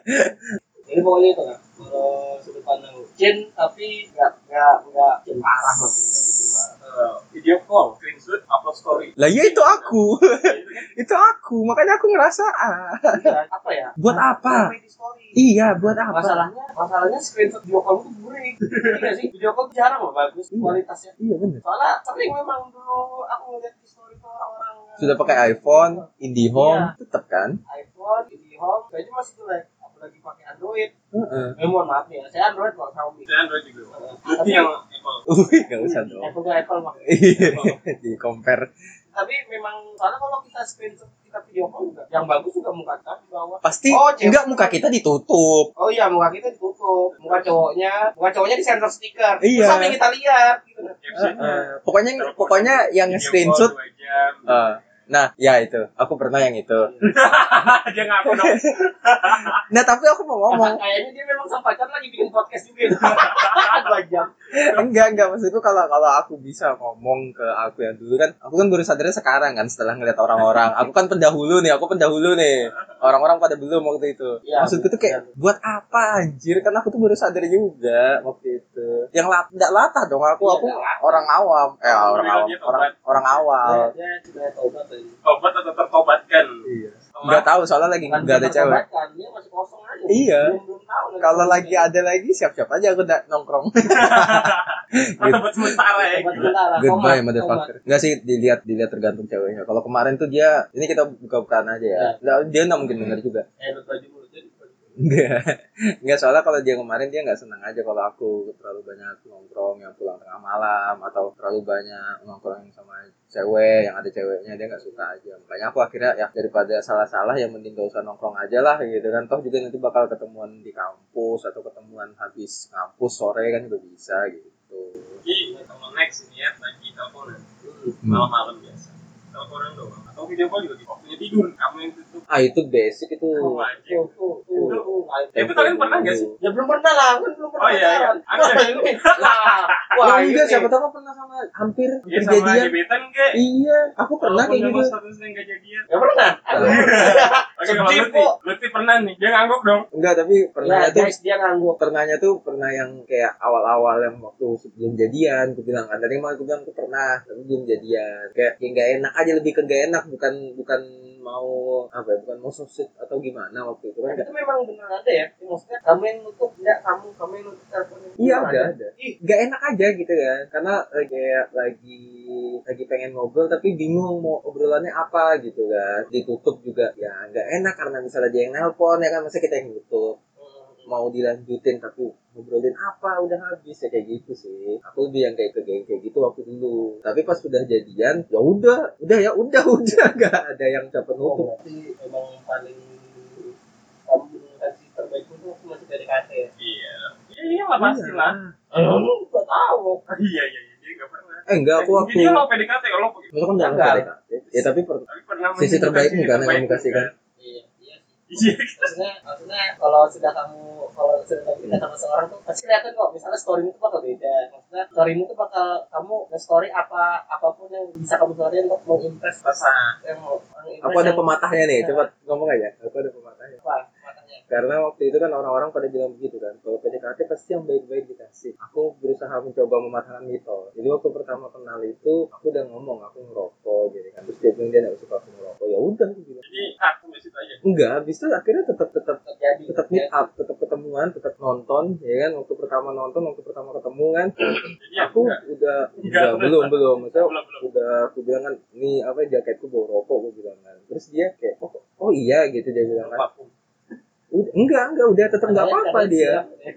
C: Jadi pokoknya itu kan. Kalau sudut pandang Jin tapi nggak nggak nggak Jin parah masih nggak bikin marah.
A: eh, video call screenshot upload story
B: Lah iya itu aku.
A: Gitu kan.
B: itu aku. Makanya aku ngerasa ah.
C: Iya, Apa ya?
B: Buat apa?
C: Sampai di story.
B: Iya, buat apa?
C: masalahnya masalahnya screenshot video call itu burik iya sih video call tuh jarang loh bagus
B: Iya.
C: kualitasnya
B: Iya bener.
C: soalnya sering memang dulu aku ngeliat di story tuh orang-orang
B: Sudah pakai iPhone, IndiHome, tetep kan?
C: iPhone di home kayaknya masih jelek apalagi pakai Android
B: Heeh.
C: eh, mohon maaf nih ya saya Android bukan Xiaomi
B: Iya,
A: dan Android juga
C: Eh,
A: kan gitu. itu yang Apple
C: Ah,
B: Wih, gak usah dong.
C: Apple tuh Apple mah
A: Oh.
B: Iya, di compare.
C: tapi memang soalnya kalau kita screenshot kita video call juga yang bagus juga muka kita di bawah
B: Pasti
C: Oh, cewek.
B: enggak muka kita ditutup.
C: Oh iya, muka kita ditutup, muka cowoknya, muka cowoknya di sensor stiker.
B: Iya.
C: Terus apa yang kita lihat? Gitu.
A: captionnya
B: Heeh. Pokoknya
A: Teleponan,
B: Iya, pokoknya yang
A: Iya. video call
B: screenshot
A: dua jam.
B: Eh, Nah, ya itu. Aku pernah yang itu.
A: Iya. Ah, dia ngaku dong
B: Nah, tapi aku mau ngomong.
C: Kayaknya dia memang sama pacar lagi bikin podcast juga. ya. Dua jam.
B: enggak enggak maksudku kalau kalau aku bisa ngomong ke aku yang dulu kan aku kan baru sadarnya sekarang kan setelah ngeliat orang-orang aku kan pendahulu nih aku pendahulu nih orang-orang pada belum waktu itu
C: Iya,
B: maksudku tuh kayak buat apa anjir kan aku tuh baru sadar juga waktu itu yang lat enggak latah dong aku
C: Iya,
B: aku
C: nggak latah. Iya.
B: orang awam eh orang awam
A: Bilangnya
B: orang orang awal
C: Dia- Dia sudah tobat tadi.
A: tobat atau tertobatkan
B: iya
A: Setelah-
B: enggak tahu soalnya lagi enggak ada cewek
C: Kan dia masih kosong aja.
B: Iya.
C: Belum belum tahu. lagi
B: kalau
C: sama
B: lagi
C: siapa.
B: ada lagi siap-siap aja aku nggak nongkrong
A: atau buat sementara ya
C: Tobat
A: gitu.
C: sementara,
B: Goodbye
C: tobat,
B: motherfucker. Enggak sih dilihat dilihat tergantung ceweknya. Kalau kemarin tuh dia ini kita buka bukaan aja
A: Iya.
B: ya. Nggak, dia nggak mungkin denger juga.
C: tobat. Eh, lu baju mulut jadi.
B: Enggak. Enggak soalnya kalau dia kemarin dia nggak senang aja kalau aku terlalu banyak nongkrong yang pulang tengah malam atau terlalu banyak nongkrong yang sama cewek yang ada ceweknya dia nggak suka aja. Makanya aku akhirnya ya daripada salah-salah yang mending gak usah nongkrong aja lah gitu kan. Toh juga nanti bakal ketemuan di kampus atau ketemuan habis ngampus sore kan juga bisa gitu.
A: jadi kalau next ini ya lagi teleponan
C: Hmm.
A: malam-malam biasa teleponan doang atau video call juga gitu waktunya tidur kamu yang tutup
B: Ah itu basic itu.
A: kamu aja
C: Tuh, tuh, tuh, tuh.
A: itu kalian pernah nggak sih
C: Ya belum pernah lah, kan belum pernah.
A: Oh, iya, iya.
C: pacaran.
A: Ada.
C: Wah, ini- Wah,
B: Wah,
C: ini-
B: enggak siapa tahu aku pernah sama hampir
A: Iya sama
B: kejadian.
A: gebetan kayak
B: Iya, aku pernah kayak gitu.
A: statusnya nggak jadian
C: Ya pernah.
B: Nah,
A: oke kalau
C: Sedih,
A: Lutfi
C: Bu.
A: Lutfi pernah nih dia ngangguk dong
B: Enggak, tapi
C: Ya,
B: pernahnya tuh
C: guys, dia ngangguk.
B: pernahnya tuh pernah yang kayak awal-awal yang waktu sebelum jadian aku bilang kan tadi malah aku bilang aku pernah tapi belum jadian kayak yang gak enak aja lebih ke gak enak bukan bukan mau apa ya bukan mau susit atau gimana waktu itu kan
C: Tapi
B: nggak-
C: itu memang benar ada ya. Maksudnya kamu yang nutup, enggak kamu, kamu yang nutup teleponnya.
B: iya
C: Benar
B: ada ada
C: Ih,
B: gak enak aja gitu kan karena eh, kayak lagi lagi pengen ngobrol tapi bingung mau obrolannya apa gitu kan ditutup juga ya gak enak karena misalnya dia yang nelpon ya kan masa kita yang tutup mau dilanjutin tapi ngobrolin apa udah habis ya kayak gitu sih aku lebih yang kayak ke geng kayak gitu waktu dulu tapi pas sudah jadian ya udah udah ya udah udah gak ada yang dapat nutup
C: berarti emang paling itu masih PDKT ya
A: Iya. Iya, iya lah pasti lah.
B: Oh,
C: lu gak tahu
A: Iya, iya, iya. Dia nggak pernah.
B: Eh enggak aku waktu
A: Jadi lo PDKT, lo
B: Lo kan dalam
C: Enggak.
B: PDKT. Ya tapi per-
A: tapi pernah
B: Sisi
A: menunjukkan
B: terbaikmu
A: sisi
B: kan yang
A: terbaikmu
B: kamu kasihkan?
A: kan?
C: iya iya sih
A: Iya.
C: maksudnya maksudnya kalau sudah kamu kalau sudah kamu dekat sama seorang tuh pasti kelihatan kok misalnya storymu tuh bakal beda maksudnya storymu tuh bakal kamu story apa apapun yang bisa kamu story untuk mengimpress
A: Rasa.
C: yang mau mengimpress
B: aku ada
C: yang-
B: pematahnya nih, coba ngomong aja. Aku ada pematahnya.
C: apa matanya
B: Karena waktu itu kan orang-orang pada bilang begitu kan, kalau PDKT pasti yang baik-baik dikasih. Aku berusaha mencoba mematahkan mitos. Jadi waktu pertama kenal itu, aku udah ngomong aku ngerokok gitu kan. Terus dia bilang dia nggak suka aku ngerokok. Ya udah, aku bilang.
A: Jadi hak sampai situ aja.
B: Enggak, habis itu akhirnya tetap tetap
C: terjadi
B: tetap meet up, tetap ketemuan, tetap nonton, ya kan? Waktu pertama nonton, waktu pertama ketemu kan,
A: Jadi aku
B: aku udah
A: Enggak,
B: udah
A: enggak.
B: belum belum, maksudnya
A: Belum, belum.
B: udah aku bilang kan, nih apa jaketku bawa rokok, aku bilang kan. Terus dia kayak, oh, oh iya gitu dia bilang kan.
A: vakum.
B: Udah, enggak enggak udah tetap nggak
C: Padahal
B: apa-apa
C: kadang
B: dia.
C: kan siap, ya.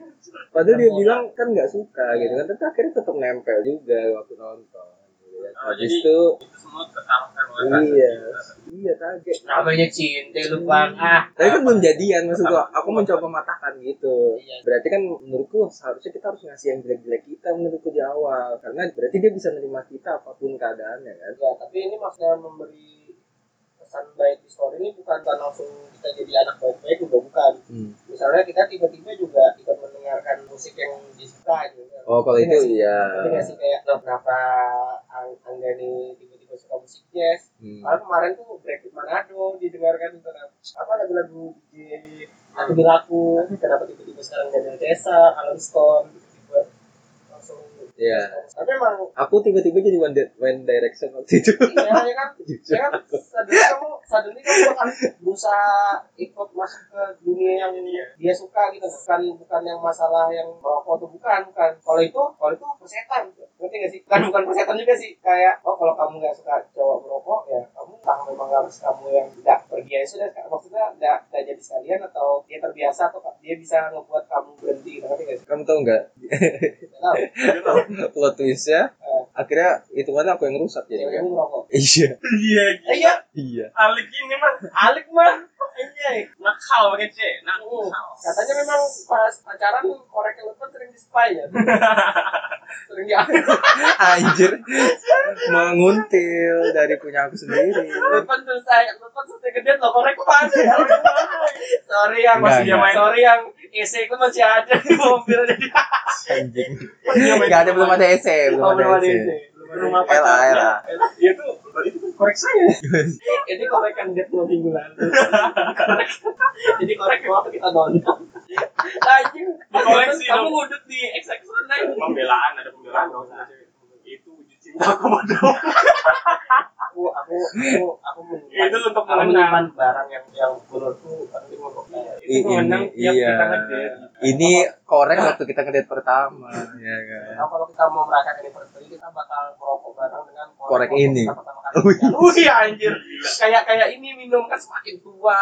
B: Padahal dia
C: Nggak
B: bilang kan nggak suka
C: Iya.
B: gitu kan, tapi akhirnya tetap nempel juga waktu nonton. Gitu kan.
A: Oh,
B: Habis
A: jadi-
B: itu
A: Itu semua terkalahkan oleh rasa
B: iya
A: cinta.
B: iya kaget.
C: namanya cinta lu bang ah
B: Tapi kan belum jadian maksud gua.
A: Pertama.
B: Aku mencoba matahkan gitu.
C: Iya.
B: Berarti kan menurutku seharusnya kita harus ngasih yang jelek-jelek kita menurutku di awal. Karena berarti dia bisa menerima kita apapun keadaannya kan.
C: Ya, tapi ini maksudnya memberi pesan baik di story ini bukan bukan langsung kita jadi anak baik-baik juga bukan.
B: Hmm.
C: Misalnya kita tiba-tiba juga ikut mendengarkan musik yang disuka gitu.
B: Oh kalau itu
C: Ngasih-
B: iya.
C: Tapi nggak sih kayak "Loh, kenapa Ang- Angga nih tiba-tiba suka musik jazz?
B: Hmm.
C: Malah kemarin tuh Break It Manado didengarkan itu kan. apa lagu-lagu DJ
B: Hmm.
C: Aku Bilaku, kenapa tiba-tiba sekarang Daniel Desa, Alan Stone, tiba-tiba langsung
B: Iya.
C: tapi emang
B: Aku tiba-tiba jadi one, Di- one direction waktu itu.
C: iya ya kan
B: Jujur.
C: Ya kan, suddenly kamu, suddenly kamu akan berusaha ikut masuk ke dunia yang dia suka gitu. Bukan bukan yang masalah yang merokok tuh bukan, bukan. Kalau itu, kalau itu persetan. Ngerti gak sih? Kan bukan persetan juga sih. Kayak, oh kalau kamu gak suka cowok merokok, ya kamu entah memang harus kamu yang tidak pergi aja sudah. Maksudnya gak, gak jadi sekalian atau dia terbiasa atau dia bisa ngebuat kamu berhenti gitu. Ngerti gak sih?
B: Kamu tahu nggak
C: Gak tau.
A: Dia tahu.
B: plot twistnya? Akhirnya itu mana aku yang rusak jadi
C: Cewek
B: kan?
C: merokok.
B: Iya.
A: Iya, iya.
C: Eh, Iya,
B: Iya.
A: Alik ini mah
C: alik mah. Anjay.
A: nakal banget sih.
C: Oh,
A: Nakal.
C: katanya memang pas pacaran korek lutut sering di spy ya. sering ya. diambil
B: Anjir. Menguntil dari punya aku sendiri.
C: lutut selesai lutut selesai gede lo korek mana ya? sorry
B: Enggak,
C: yang masih dia
B: enggak.
C: main. sorry yang AC ku masih ada di mobil jadi
B: Anjing. Gak ada belum ada ese, belum
C: Oh,
B: ada E
C: belum ada
B: ese.
C: AC belum
A: Rumah
B: LA.
A: pacarnya. Dia tuh itu kan korek saya.
C: ini korek kan dia dua minggu lalu Korek. jadi korek yang waktu kita nonton anjing
A: Dikoleksi
C: kamu
A: dong.
C: ngudut di XX mana ini?
A: Pembelaan ada pembelaan dong. Itu wujud cinta aku padamu.
C: aku aku aku aku menyimpan-
A: Itu untuk
C: aku
A: mengenang.
C: menyimpan barang yang yang menurutku penting untuk dia.
B: I-
A: Itu menang
B: ini,
A: tiap kita
B: iya.
A: ngedate.
B: Ini korek waktu kita ngedate pertama, ya kan.
C: Nah, kalau kita mau merayakan anniversary kita bakal merokok bareng dengan
B: Korek ini.
C: kita pertama kali menikah. Wih anjir. Kayak kayak ini minum kan semakin tua,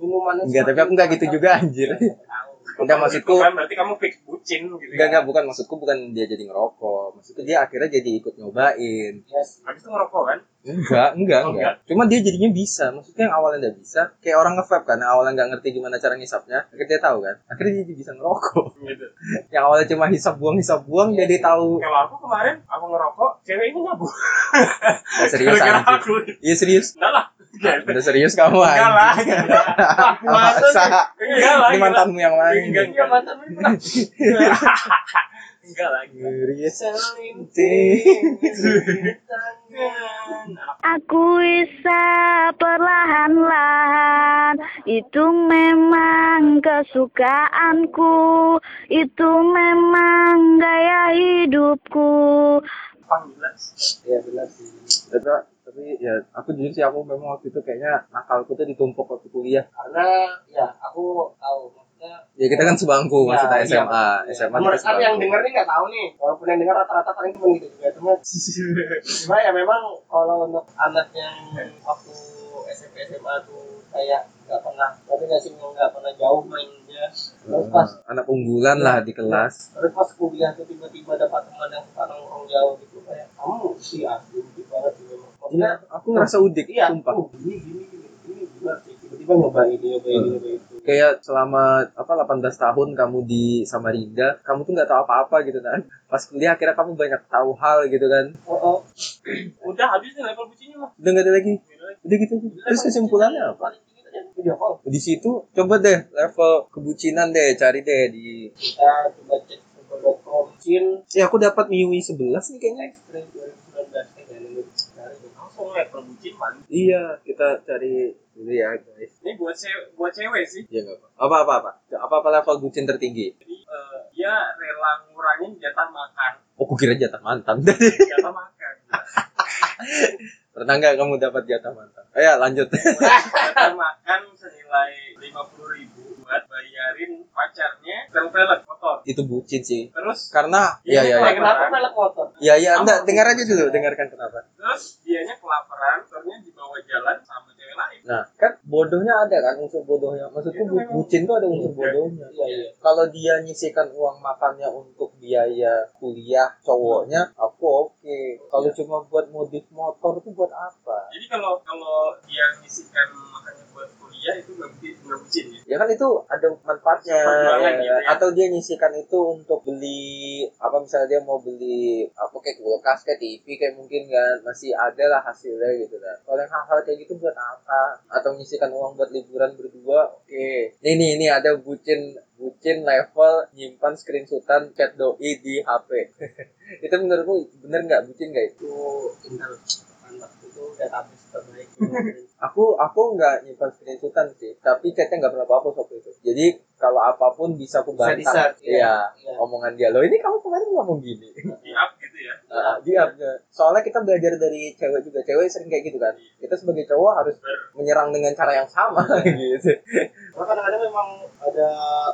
C: minumannya
B: Enggak, tapi
C: semakin
B: aku enggak gitu
C: mantap.
B: juga anjir.
C: Tahu.
B: Enggak maksudku,
A: Kan berarti kamu fix bucin gitu.
B: enggak
A: ya.
B: enggak bukan maksudku bukan dia jadi ngerokok. Maksudku dia akhirnya jadi ikut nyobain.
C: Yes.
A: Habis itu ngerokok kan?
B: Enggak, enggak,
A: Oh,
B: enggak. Cuma dia jadinya bisa. Maksudnya yang awalnya enggak bisa, kayak orang nge-vape kan, yang awalnya enggak ngerti gimana cara ngisapnya, akhirnya dia tahu kan. Akhirnya dia jadi bisa ngerokok.
A: Gitu.
B: Yang awalnya cuma hisap buang, hisap buang,
C: Iya.
B: jadi tahu.
A: Kalau aku kemarin aku ngerokok, cewek ini nyabu.
B: Nah, serius
A: Gara-gara
B: anjir.
A: aku.
B: Iya serius.
A: Enggak lah.
B: Udah serius kamu
A: Enggak
B: anjir.
A: lah. Enggak lah.
B: Masa?
A: Enggak lah.
B: Ini mantanmu yang mana? ini?
A: Enggak,
C: Iya, mantap ini pernah.
A: Enggak lagi.
B: Serius.
C: Selinting di tangan.
F: Aku bisa perlahan-lahan Itu memang kesukaanku Itu memang gaya hidupku
A: Panggilan.
C: Iya benar sih.
B: Tapi, tapi ya aku jujur sih aku memang waktu itu kayaknya nakalku tuh ditumpuk waktu kuliah.
C: Karena ya aku tahu maksudnya
B: Ya kita kan sebangku
C: Ya,
B: maksudnya
C: iya.
B: SMA,
C: Iya.
B: SMA
C: Nomor
B: kita
C: satu
B: sebangku.
C: yang denger nih nggak tahu nih. Walaupun yang denger rata-rata paling cuma gitu juga. Cuma, cuma ya memang kalau untuk anak yang waktu SMP SMA tuh kayak nggak pernah, tapi nggak sih nggak pernah jauh mainnya. Terus pas
B: Eh, anak unggulan lah di kelas.
C: terus pas kuliah tuh tiba-tiba dapat teman yang suka nongkrong jauh gitu kayak kamu sih asli gitu banget sih memang. Maksudnya,
B: Iya, aku ngerasa udik,
C: iya,
B: sumpah. Hmm.
C: oh, gini gini gini gini gimana sih tiba-tiba nyoba ini nyoba ini nyoba itu.
B: kayak selama apa 18 tahun kamu di Samarinda kamu tuh nggak tahu apa-apa gitu kan pas kuliah akhirnya kamu banyak tahu hal gitu kan
A: Oh, oh. Udah habis nih level bucinya mah.
B: udah nggak ada lagi udah gitu terus kesimpulannya apa
C: Video call.
B: di situ coba deh level kebucinan deh cari deh di
C: Kita coba cek google.com Chin
B: ya aku dapat MIUI 11 nih kayaknya
C: Extreme 2019 Eh, jangan dulu. Cari dulu.
A: Langsung level bucin man.
B: iya kita cari dulu ya guys
A: Ini buat cewek, buat cewek sih.
B: ya nggak apa apa apa apa apa apa level bucin tertinggi
A: Jadi eh, dia rela ngurangin jatah makan,
B: oh aku kira jatah mantan tadi
A: jatah makan.
B: pernah nggak kamu dapat jatah mantan oh ya lanjut
A: Jatah makan senilai lima puluh ribu buat bayarin pacarnya pel-pelet motor.
B: itu bucin sih
A: Terus
B: karena
A: Iya,
B: ya ya
A: iya,
B: ya
C: Eh, Kenapa pelek motor?
B: ya ya enggak dengar aja dulu dengarkan kenapa
A: terus dianya kelaparan, ternyata dibawa jalan sama cewek lain.
B: Nah, kan bodohnya ada kan unsur bodohnya. Maksudku
A: Itu
B: bu-
A: memang-
B: bucin tuh ada unsur bodohnya.
C: Iya, iya.
B: Kalau dia nyisikan uang makannya untuk biaya kuliah cowoknya, aku oke. Kalau cuma buat modif motor tuh buat apa?
A: Jadi kalau kalau dia ngisikan makannya buat kuliah itu nggak bucin, nggak bucin ya.
B: Ya kan itu ada manfaatnya.
A: Perjuangan
B: ya.
A: gitu ya.
B: Atau dia nyisikan itu untuk beli apa misalnya dia mau beli apa kayak kulkas kayak TV kayak mungkin kan masih ada lah hasilnya gitu kan. Kalau yang hal-hal kayak gitu buat apa? Atau nyisikan uang buat liburan berdua? Oke. Ini nih ini ada bucin bucin level nyimpan screenshotan chat doi di HP. itu menurutmu bener nggak bucin nggak itu?
C: Itu intel. Mantap. Itu database terbaik. Kemarin.
B: Aku aku nggak nyimpan screenshotan sih, tapi chatnya nggak pernah apa-apa waktu itu. Jadi kalau apapun bisa aku
C: Bisa
B: bantah. Iya,
C: di-search, iya. Iya.
B: omongan dia. Loh ini kamu kemarin ngomong gini.
A: Di up gitu ya.
B: Nah,
C: iya.
B: dia soalnya kita belajar dari cewek juga. Cewek sering kayak gitu kan.
C: Iya.
B: Kita sebagai cowok harus menyerang dengan cara yang sama gitu.
C: Karena kadang-kadang memang ada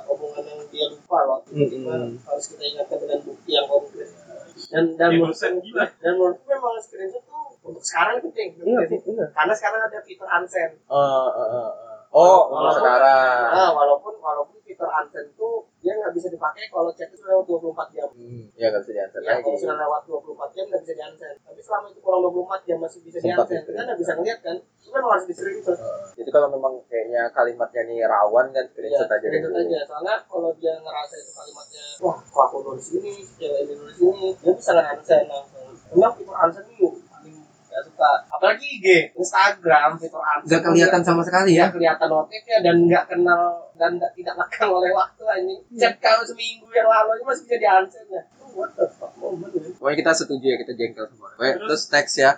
C: omongan yang dia lupa loh. Tiba-tiba
B: Mm-mm.
C: harus kita ingatkan dengan bukti yang konkret. Dan dan
A: Dan
C: menurut
A: dosen Iya, gila.
C: dan menurutku memang screenshot tuh untuk sekarang penting.
B: Iya,
C: Ngerti sih?
B: iya.
C: Karena sekarang ada fitur unsend.
B: Eh, eh, eh, eh. Oh,
C: Walaupun-
B: sekarang.
C: Nah, walaupun walaupun fitur unsend tuh dia nggak bisa dipakai kalau chat itu lewat 24 jam.
B: Hmm, ya nggak bisa diantar
C: Ya,
B: lagi.
C: kalau sudah lewat 24 jam nggak bisa di unsend. Tapi selama itu kurang 24 jam masih bisa di
B: Sempat ya. Oh,
C: unsend.
B: di-screenshot.
C: Kita nggak bisa ngeliat kan? Itu kan harus di screenshot.
B: Jadi kalau memang kayaknya kalimatnya nih rawan kan screenshot aja deh.
C: Iya, screenshot
B: dulu.
C: aja. Soalnya kalau dia ngerasa itu kalimatnya, wah, kok aku nulis ini, si cewek ini nulis ini, dia bisa nggak unsend langsung. Memang fitur unsend itu paling nggak suka. Apalagi IG, Instagram, fitur unsend.
B: Nggak kelihatan sama sekali ya.
C: ya kelihatan notifnya dan nggak kenal dan nggak tidak lekang oleh waktu anjing
B: Hmm.
C: chat kau seminggu yang lalu aja masih bisa di unsend ya Oh, what the fuck moment ya
B: Pokoknya kita setuju ya, kita jengkel semua. Oke, terus next ya.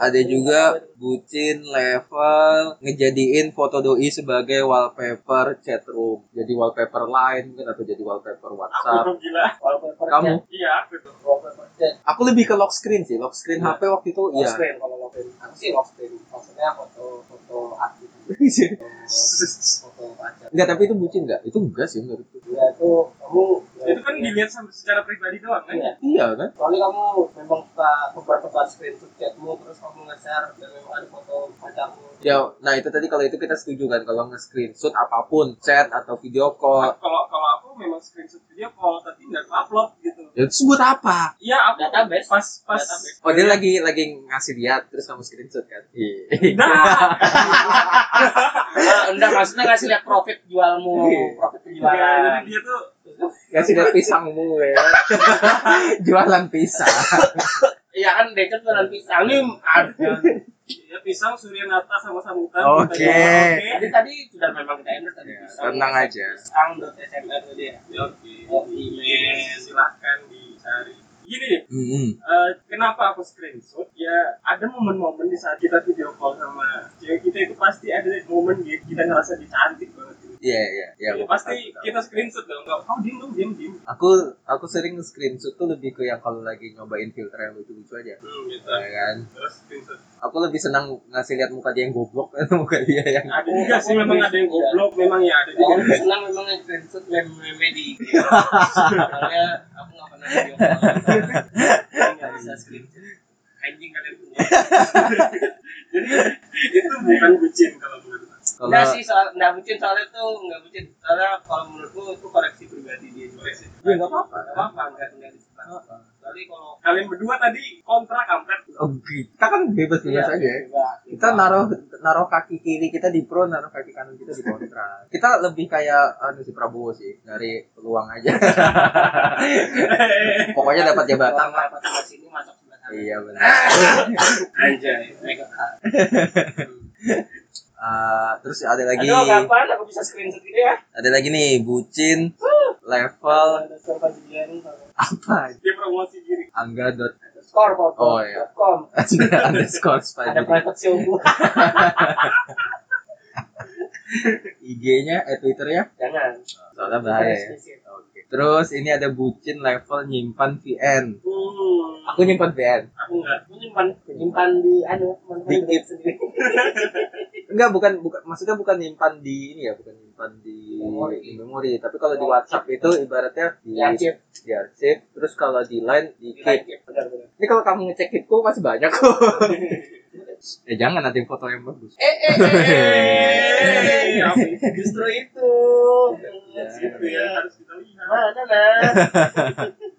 B: Ada juga bucin level ngejadiin foto doi sebagai wallpaper chatroom. Jadi wallpaper lain mungkin atau jadi wallpaper
A: Aku
B: WhatsApp.
A: dong gila.
C: wallpaper
B: Kamu?
C: chat,
A: Iya aku tuh.
C: wallpaper chat
B: Aku lebih ke lock screen sih, lock screen
A: Iya.
B: HP waktu itu
C: lock
B: iya.
C: screen kalau lock screen aku sih lock screen maksudnya foto foto aktif foto foto pacar
B: Enggak, tapi itu bucin enggak? Itu enggak sih menurutku.
C: ya itu kamu ya,
A: Itu kan dilihat sama- secara pribadi doang kan.
C: Iya.
B: Iya kan?
C: Soalnya kamu memang suka kebar-kebar screenshot chatmu terus kamu nge-share dan memang ada foto pacarmu.
B: Ya, nah itu tadi kalau itu kita setuju kan kalau nge-screenshot apapun, chat atau video call.
A: Kalau kalau aku memang screenshot video call tapi nggak upload gitu.
B: Ya itu buat apa?
A: Iya aku
C: Database.
A: pas pas.
C: Database.
B: Oh, dia lagi lagi ngasih lihat terus kamu screenshot kan? Iya.
A: Nah,
C: Ah, enggak maksudnya ngasih lihat profit jualmu
B: Iya.
C: profit
A: ya, jadi
C: penjualan
A: dia tuh
B: Ngasih lihat pisangmu ya. Jualan pisang.
C: iya kan dia kan jualan pisang nih
A: Iya.
C: ada
A: ya pisang Surya Nata sama sambutan.
B: Oke.
A: Kita jawab, Oke.
C: tadi tadi sudah memang kita endorse tadi
B: Ya,
C: pisang
B: tenang aja.
C: pisang dot smr tadi ya
A: Ya, Oke. Email silahkan dicari. Gini deh, Eh, kenapa aku screenshot? Ya ada momen-momen di saat kita video call sama cewek kita itu pasti ada momen gitu kita ngerasa dicantik banget gitu.
B: Iya iya iya.
A: Ya,
B: gua
A: pasti
B: paham.
A: kita screenshot dong. Enggak, kau diem dong, diem diem.
B: Aku aku sering screenshot tuh lebih ke yang kalau lagi nyobain filter yang lucu-lucu aja.
C: Iya.
A: Hmm, gitu.
B: Ya kan.
A: Terus screenshot.
B: Aku lebih senang ngasih lihat muka dia yang goblok atau muka dia yang
C: Nah,
A: Ada juga sih memang ada yang goblok, memang ya ada
C: Aku
A: juga.
C: senang memang screenshot meme-meme di IG. Soalnya aku nggak pernah video call. Aku nggak bisa screenshot. Anjing kalian punya.
A: Jadi itu bukan bucin kalau menurut aku.
B: kalau
C: Nggak sih soal nggak bucin soalnya tuh nggak bucin. Soalnya kalau menurutku itu koreksi pribadi dia juga sih.
B: Ya, nggak apa-apa.
C: Nggak apa-apa nggak nggak disebut.
B: Heeh.
C: kecuali kalau
A: Kalian berdua tadi kontrak kampret.
B: Oke. Kita kan bebas bebas
C: Iya,
B: aja. ya.
C: bebas,
B: Kita
C: bebas.
B: naruh naruh kaki kiri kita di pro, naruh kaki kanan kita di kontra. kita lebih kayak anu si Prabowo sih, dari peluang aja. Pokoknya dapat ya, jabatan lah.
C: dapat sebelah sini masuk sebelah sana
B: Iya
C: Eh,
B: benar.
A: Anjay.
C: mega
B: Ah, terus ada lagi
C: aduh kapan aku bisa screenshot ini ya
B: ada lagi nih bucin level
C: Ada skor Pajigiani, kalau-
B: apa
A: Dia promosi diri.
B: angga dot
C: ada skor kok
B: Oh, iya. underscore
C: ada
B: spider
C: private show gua.
B: IG-nya eh Twitternya
C: jangan
B: soalnya bahaya ya.
C: Eksplisit.
B: Oke. Terus ini ada bucin level nyimpan VN.
A: Hmm.
C: Oh,
B: Aku nyimpan VN.
A: Aku enggak.
C: Lu nyimpan nyimpan di anu
B: Di
C: teman-teman
B: keep.
C: sendiri
B: Enggak bukan bukan maksudnya bukan nyimpan di ini ya, bukan nyimpan di
C: Memori.
B: di memori, tapi kalau di
C: Oh,
B: WhatsApp itu ibaratnya di
C: di arsip
B: di arsip. terus kalau di Line di
C: di
B: keep.
C: keep benar-benar
B: Ini kalau kamu ngecek keepku masih banyak kok. ya jangan nanti foto yang bagus.
C: eh eh eh,
A: Eh,
C: eh
A: apa itu?
C: justru itu
A: Gitu ya, harus kita lihat.
C: mana nah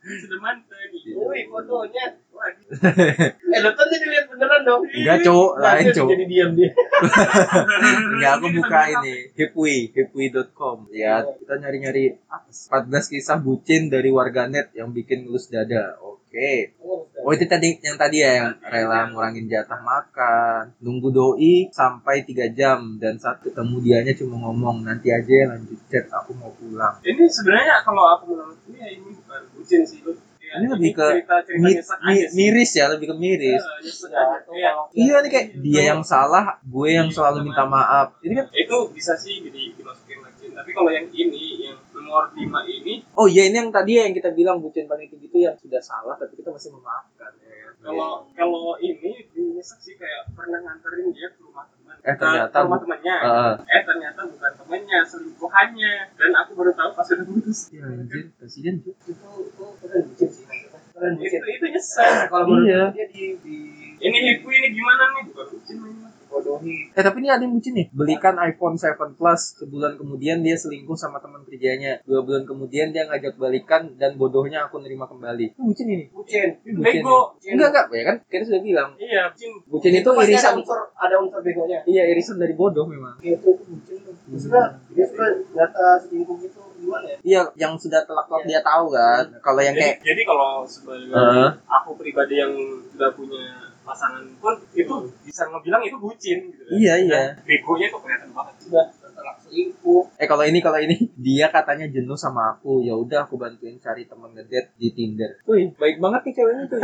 A: Sudah mantan.
C: Wih, fotonya.
A: Waduh.
C: Eh, lu tadi dilihat beneran dong.
B: Enggak, cowok, lain,
C: Langsung
B: cowok.
C: Jadi diam dia.
B: Enggak Iya, aku buka ini Hipwi, hipwi.com. Lihat, Ya, kita nyari-nyari apa sih? 14 kisah bucin dari warganet yang bikin ngelus dada. Oke. Oh itu tadi yang tadi ya yang rela ngurangin jatah makan, nunggu doi sampai 3 jam dan saat ketemu dianya cuma ngomong nanti aja lanjut chat aku mau pulang.
A: Ini sebenarnya kalau aku menurut ini ya ini bukan bucin sih lu. Ya,
B: Ini lebih ke
A: cerita-cerita
B: Mi-
A: nyesek aja
B: mi-
A: sih.
B: miris ya lebih ke miris.
A: Eh, nyesek
C: Ya,
A: aja.
C: itu
A: Iya.
C: kalau-
B: Iya nih kayak dia yang salah, gue yang selalu minta maaf. Ini kan
A: itu bisa sih jadi dimasukin lagi tapi kalau yang ini yang nomor 5 ini
B: oh iya ini yang tadi ya yang kita bilang bucin paling tinggi itu yang sudah salah tapi kita masih memaafkan. ya kan?
A: kalau kalau ini nyesek sih kayak pernah nganterin dia ke rumah teman
B: Eh,
A: Ke-
B: ternyata
A: ke rumah
B: bu-
A: temannya
B: Heeh.
A: eh ternyata bukan temannya selingkuhannya dan aku baru tahu pas udah putus
B: Ya, anjir, presiden tuh.
C: Itu itu keren bucin sih. Keren
A: itu
C: bucin.
A: itu nyesek
C: Kalau menurut
B: Iya.
C: gua dia di di
A: ini hiku ini gimana nih bukan bucin ini.
C: bodohi.
B: Eh tapi ini ada yang bucin nih. Belikan iPhone 7 Plus. Sebulan kemudian dia selingkuh sama teman kerjanya. Dua bulan kemudian dia ngajak balikan dan bodohnya aku nerima kembali. Ini bucin ini.
C: Bucin.
B: Ini bucin.
A: Bego.
B: ini. Enggak enggak ya kan? Kita sudah bilang.
A: iya bucin
B: Bucin itu
C: pasti ada
B: irisan.
C: unsur ada unsur begonya.
B: Iya irisan dari bodoh memang.
C: Iya, Itu itu bucin. tuh. Maksudnya dia suka data selingkuh gitu gimana ya?
B: Iya yang sudah telak-telak dia tahu kan. Kalau yang
A: jadi,
B: kayak Eh,
A: jadi kalau sebagai
B: Heeh.
A: aku pribadi yang sudah punya pasangan pun itu bisa ngebilang itu bucin gitu kan.
B: Iya, iya.
A: Dan begonya tuh kelihatan banget
C: Sudah setelah selingkuh.
B: eh kalau ini kalau ini dia katanya jenuh sama aku. Ya udah aku bantuin cari teman ngedate di Tinder. Wih baik banget nih ceweknya tuh.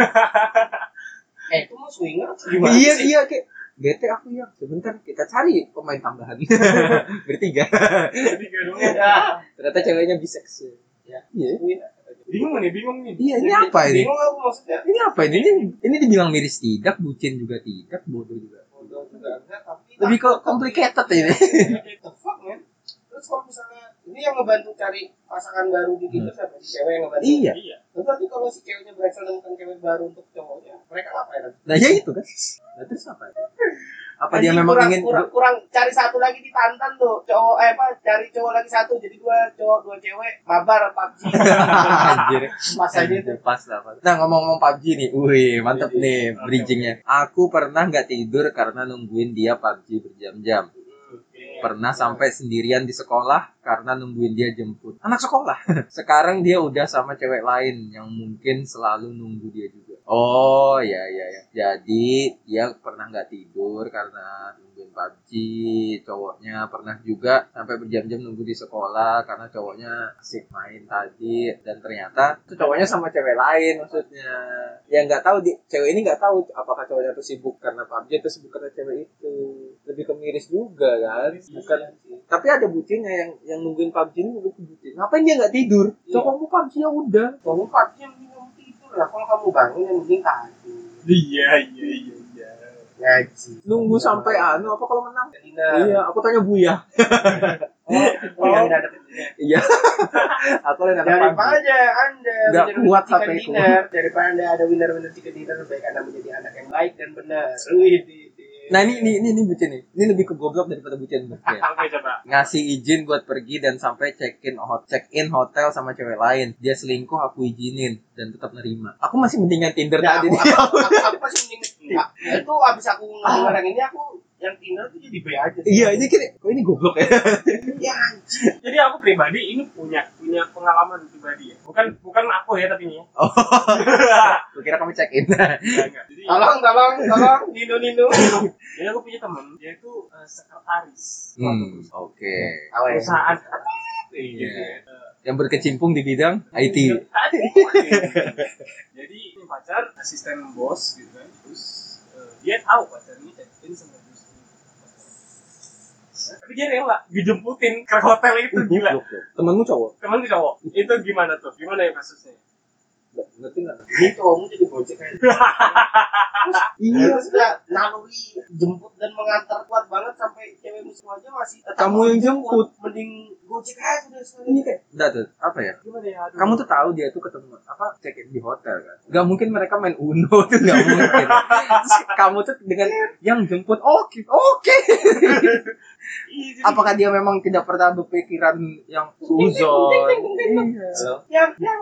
C: Eh, itu mau swinger atau gimana?
B: iya
C: sih?
B: iya kayak bete aku ya sebentar kita cari pemain tambahan bertiga
A: jadi kayak dong
C: Ya,
B: ternyata ceweknya bisex
C: Ya.
B: iya
C: swinger.
A: bingung nih bingung nih
B: iya ini apa ini
C: Bingung aku maksudnya.
B: ini apa ini ini ini dibilang miris tidak bucin juga tidak bodoh juga
C: Bodoh juga enggak, tapi
B: lebih ke complicated ya. ini
C: What the fuck man terus kalau misalnya ini yang ngebantu cari pasangan baru di Tinder siapa si cewek yang ngebantu
B: Hmm. iya
A: iya
C: Terus nanti kalau si ceweknya berhasil nemukan cewek baru untuk cowoknya mereka ngapain lagi
B: nah ya itu kan nah, terus apa apa dia
C: Anjing,
B: memang
C: kurang,
B: ingin
C: kurang, kurang cari satu lagi ditantan tuh cowok eh apa cari cowok lagi satu jadi dua cowok dua cewek mabar PUBG
B: Anjir.
C: pas aja itu
B: Anjir, pas lah pas. Nah ngomong-ngomong PUBG nih, wih mantep nih bridgingnya. Aku pernah nggak tidur karena nungguin dia PUBG berjam-jam. Pernah sampai sendirian di sekolah karena nungguin dia jemput. Anak sekolah. Sekarang dia udah sama cewek lain yang mungkin selalu nunggu dia juga. Oh ya ya ya. Jadi dia pernah nggak tidur karena nungguin PUBG cowoknya pernah juga sampai berjam-jam nunggu di sekolah karena cowoknya asik main tadi dan ternyata itu cowoknya sama cewek lain maksudnya ya nggak tahu di cewek ini nggak tahu apakah cowoknya tuh sibuk karena PUBG atau sibuk karena cewek itu lebih ke miris juga kan bukan tapi ada bucinnya yang yang nungguin PUBG ini nungguin bucin ngapain dia nggak tidur cowokmu PUBG ya udah
C: kamu PUBG yang penting kamu tidur lah kalau kamu bangun yang penting tadi
A: iya iya iya iya
C: ngaji
B: nunggu sampai anu apa kalau menang
C: Kalina
B: iya aku tanya Buya
C: oh, yang ada pentingnya
B: iya aku lihat ada PUBG
C: daripada anda
B: Nggak
C: menjadi
B: kuat
C: chicken
B: HP ku.
C: dinner daripada anda ada winner winner chicken dinner baik anda menjadi anak yang baik dan benar Wih, di- di-
B: Nah ini ini ini, ini bucin nih. Ini lebih ke goblok daripada bucin menurut gue.
A: Oke coba.
B: Ngasih izin buat pergi dan sampai check in check in hotel sama cewek lain. Dia selingkuh aku izinin dan tetap nerima. Aku masih mendingan Tinder
C: Ya,
B: tadi
C: aku,
B: nih.
C: aku, aku, aku pasti mending enggak. Ya, itu abis aku ngedengar yang ini aku yang Tinder tuh jadi B aja.
B: Ah. Iya, ini kira kok ini goblok ya.
C: Iya, anjing.
A: Jadi aku pribadi ini punya punya pengalaman pribadi ya. Bukan bukan aku ya tapi ini. ya.
B: Oh. Gue kira kamu check in.
A: Enggak, enggak. Jadi
C: Tolong, tolong, tolong, Nino, Nino.
A: jadi aku punya teman dia itu eh, sekretaris suatu
B: Hmm, oke.
A: perusahaan. Iya.
B: Iya. Yang berkecimpung di bidang IT.
A: Jadi ini pacar asisten bos gitu kan. Terus eh, dia tahu pacarnya check-in sama dia sendiri. Tapi dia rela dijemputin ke hotel itu gila.
B: Goblok loh. Temenmu cowok?
A: Temen tuh cowok. Itu gimana tuh? Gimana ya kasusnya?
B: Nggak- Ngerti nggak?
C: Ini kamu jadi kan? bocek aja.
B: Iya.
C: Terus ya, naluri jemput dan mengantar kuat banget sampai cewek musuh aja masih tetap
B: Kamu yang jemput.
C: mending gojek aja udah
B: Ini
C: sekali.
B: kayak enggak tuh. Apa ya?
A: Gimana ya? Aduh.
B: kamu tuh tahu dia tuh ketemu apa check in di hotel kan nggak mungkin mereka main uno tuh nggak mungkin Terus kamu tuh dengan yang jemput oke oke
A: Iya, jadi-
B: apakah dia memang tidak pernah berpikiran yang suzon Halo?
C: Yang, yang.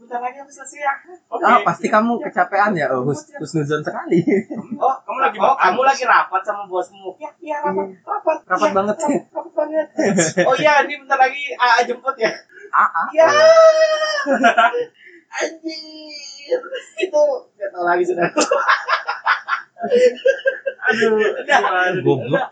C: Bentar lagi aku selesai ya.
A: Oke.
B: ah pasti kamu kecapean ya oh,
A: Iya.
B: hus husnuzon sekali
C: Oh,
A: Kamu lagi
C: oh,
A: makan.
C: kamu lagi rapat sama bosmu. Ya, iya rapat, rapat.
B: Rapat
C: Iya,
B: banget.
C: Rapat, rapat banget. Oh iya, ini bentar lagi AA jemput ya.
B: ah ah
A: Iya.
C: Ya. Anjir. Itu gak tau lagi sudah.
A: Aduh, gimana?
B: goblok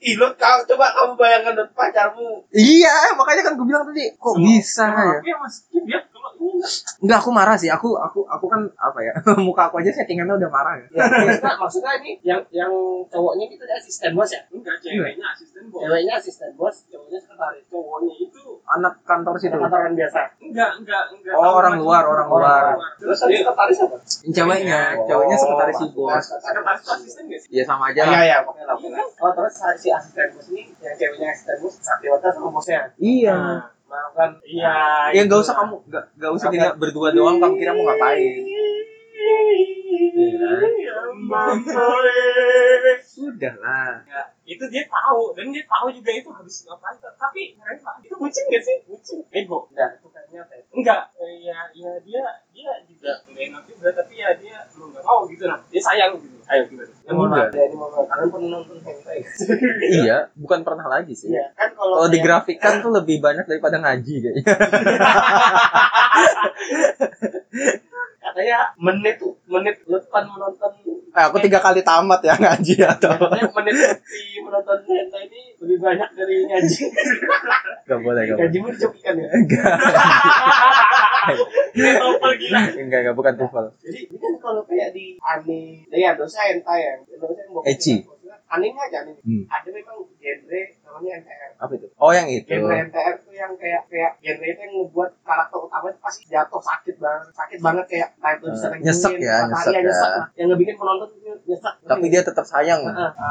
C: Ih, lo kau coba kamu bayangkan dot pacarmu.
B: iya makanya kan gue bilang tadi kok bisa ya
A: Tapi yang masih Iya, dia kalau ini enggak.
B: nggak aku marah sih aku aku aku kan apa ya muka aku aja settingannya udah marah ya
C: Ya, maksudnya, maksudnya ini yang yang cowoknya itu dia asisten bos ya.
A: enggak ceweknya asisten bos.
C: Ceweknya asisten bos, cowoknya sekretaris.
A: Cowoknya itu
B: anak kantor situ
C: Kantoran biasa.
A: enggak enggak enggak.
B: Oh,
A: tahu
B: orang
A: macam-
B: luar, orang luar.
A: Terus
C: Terus tadi
A: dia
C: sekretaris apa?
B: ceweknya ceweknya sekretaris si bos
A: sekretaris tuh asisten nggak sih?
B: ya sama aja
C: Ya,
B: lah
C: ya, ya, pokoknya lah, pokoknya lah. Oh, terus si asisten bos ini, yang ceweknya asisten bos, santriwata sama bosnya.
B: Iya.
A: Nah,
C: Melakukan
A: Iya.
B: Ya nggak
A: itu
B: usah
A: lah.
B: kamu nggak nggak usah kita berdua doang kamu kira mau ngapain?
A: Iya, Mamboy.
B: Sudah lah.
A: Ya, itu dia tahu dan dia tahu juga itu harus ngapain tapi rela itu bucin gak sih bucin ego
C: Nah, itu kayaknya apa ya?
A: enggak eh, ya ya dia dia juga nggak enak juga tapi ya dia lu nggak mau gitu nah dia sayang gitu ayo gimana
C: Ya, mohon
B: Enggak.
C: maaf, ya, ini mohon maaf. Kalian pernah nonton hentai?
B: Iya, bukan pernah lagi sih.
C: Iya, kan kalau
B: Kalau
C: kayak-
B: digrafikan tuh lebih banyak daripada ngaji kayaknya.
C: katanya menit menit depan menonton
B: Eh, aku tiga kali tamat ya ngaji atau
C: katanya menit di menonton hentai ini lebih banyak dari ngaji.
B: nggak boleh nggak boleh.
C: Ngajimu dicokikan ya.
B: Enggak,
A: dia topel gila
B: enggak, enggak bukan tuval.
C: Jadi ini kan kalau kayak di anime, ya dosa hentai ya, dosa yang bukan-
B: Ecchi.
C: Anime aja anime.
B: Hmm.
C: Ada memang genre namanya NTR.
B: Apa itu? Oh yang itu.
C: Genre NTR tuh yang kayak kayak genre itu yang ngebuat karakter utama itu pasti jatuh sakit banget, sakit banget kayak kayak itu
B: Eh,
C: bisa tenggungin,
B: nyesek ya,
C: patah-
B: nyesek
C: iya,
B: ya.
C: lah. Yang ngebikin penonton tuh nyesek.
B: Tapi dia tetap sayang.
C: Heeh. itu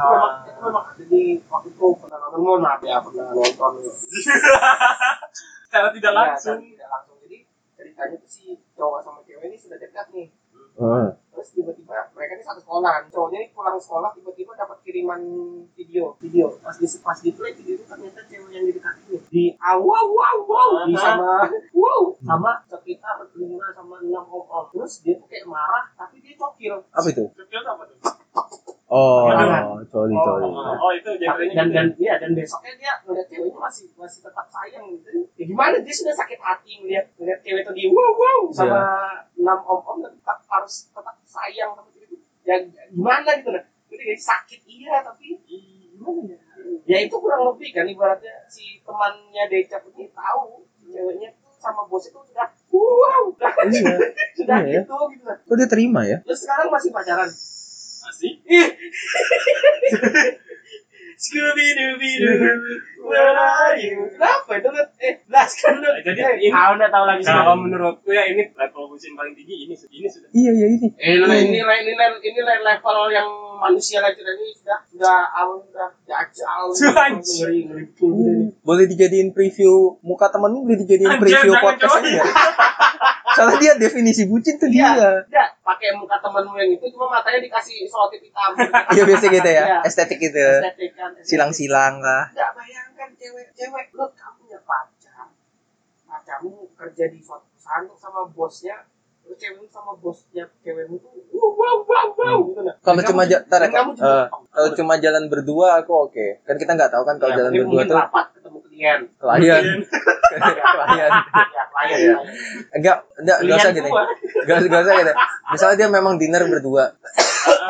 C: memang itu memang ada di waktu itu pernah nonton mohon maaf ya pernah nonton.
A: secara
B: Iya,
A: tidak langsung
C: Ya, tidak langsung. Jadi ceritanya tuh si cowok sama cewek ini sudah dekat nih.
B: Heeh.
C: terus tiba-tiba mereka ini satu sekolahan cowoknya ini pulang sekolah tiba-tiba dapat kiriman video video pas di pas di play video itu ternyata cewek yang didekatinya di ah, wow wow wow di
A: Aha.
C: sama wow sama sekitar lima sama enam om om terus dia tuh kayak marah tapi dia cokil
B: Apa itu?
A: Terus apa tuh?
B: Oh,
C: Jangan.
B: sorry,
C: Oh,
B: sorry.
A: Oh, oh, itu
C: Tapi-
A: genrenya
C: dan
A: gitu.
C: dan iya dan besoknya dia ngeliat ceweknya masih masih tetap sayang gitu ya gimana dia sudah sakit hati ngeliat ngeliat cewek itu di wow wow sama enam om om tapi tetap harus tetap sayang sama gitu ya gimana gitu nah jadi kayak sakit iya tapi gimana ya ya itu kurang lebih kan ibaratnya si temannya Decap ini tahu ceweknya tuh sama bos itu sudah wow sudah
B: Iya.
C: sudah
B: Iya.
C: gitu gitu nah.
B: Kok dia terima ya?
C: terus sekarang masih pacaran
A: Asik.
C: Scooby Dooby Doo, where are you? Kenapa itu lu? Eh, las kan lu.
A: Nah, Jadi
C: Eh,
A: ini-
C: tahu nggak tahu lagi
A: Kalau
C: sih.
A: menurutku ya ini level bucin paling tinggi ini ini sudah
B: Iya, iya ini.
C: Eh, lu, ini le- ini le- ini le- level yang manusia lagi ini sudah sudah awal sudah jajal.
A: Anjir.
C: Ngeri ngeri betul gitu ini.
B: Boleh dijadiin preview muka temenmu boleh dijadiin
A: Anjir,
B: preview
A: jangan
B: podcast
A: cobain.
B: ini ya? Soalnya dia definisi bucin tuh dia.
C: Iya, pakai muka temenmu yang itu cuma matanya dikasih selotip hitam
B: Iya biasa gitu ya,
C: Iya.
B: estetik gitu.
C: Estetik kan, estetik.
B: Silang-silang lah.
C: Nggak bayangkan cewek-cewek lu kamu punya pacar. Pacarmu kerja di suatu perusahaan tuh sama bosnya terus cewekmu sama bosnya cewekmu tuh wow wow wow wow gitu nah.
B: Hmm. Kalau
C: Dan
B: cuma
C: kamu-
B: ja- tar ya,
C: dan kamu
B: Kak.
C: juga-
B: Eh, Kalau cuma jalan berdua aku oke. Kan kita nggak tahu kan kalau
C: Ya,
B: jalan
C: mungkin-
B: berdua
C: mungkin
B: tuh
C: rapat ketemu klien.
B: klien. klien.
C: Ya, klien.
B: Iya.
C: klien.
B: Enggak, enggak, enggak usah
C: Klien
B: gini.
C: gua.
B: Enggak usah, enggak usah gini. Misalnya dia memang dinner berdua.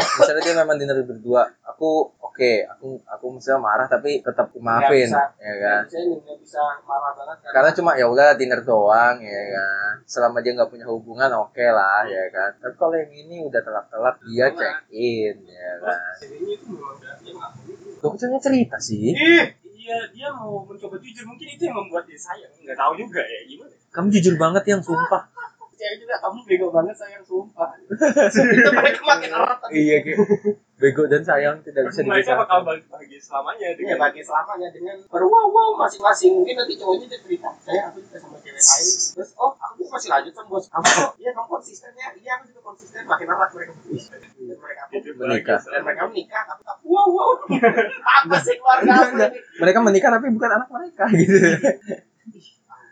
B: Misalnya dia memang dinner berdua. Aku oke, aku aku misalnya marah tapi tetap aku maafin,
C: Nggak bisa.
B: ya
C: Nggak
B: kan?
C: bisa ini, nggak bisa marah banget
B: Karena cuma ya udah dinner doang ya kan. Selama dia nggak punya hubungan oke lah ya kan. Tapi kalau yang ini udah telak-telak dia check in ya kan.
A: Ceweknya itu memang gak- dia ngakuin.
B: Loh, kok ceweknya cerita sih?
A: Ih, iya dia mau mencoba jujur mungkin itu yang membuat dia sayang nggak tahu juga ya gimana
B: Kamu jujur banget yang sumpah.
C: cewek juga kamu bego banget sayang sumpah kita mereka makin erat tapi
B: iya, kayak bego dan sayang tidak bisa
A: mereka bakal
B: dipisahkan.
A: bag- bahagia selamanya
C: ya
A: dengan
C: bagi selamanya dengan baru wow wow masing-masing mungkin nanti cowoknya dia cerita saya aku juga sama cewek lain terus oh aku juga masih lanjut sama bos kamu kok iya kamu konsisten ya iya aku juga konsisten makin erat mereka berdua dan mereka pun
A: hidup bahagia
B: Menikah.
C: dan
A: selamanya.
C: mereka menikah tapi aku wow wow apa sih keluarga aku
B: Enggak,
C: ini
B: Mereka menikah tapi bukan anak mereka gitu.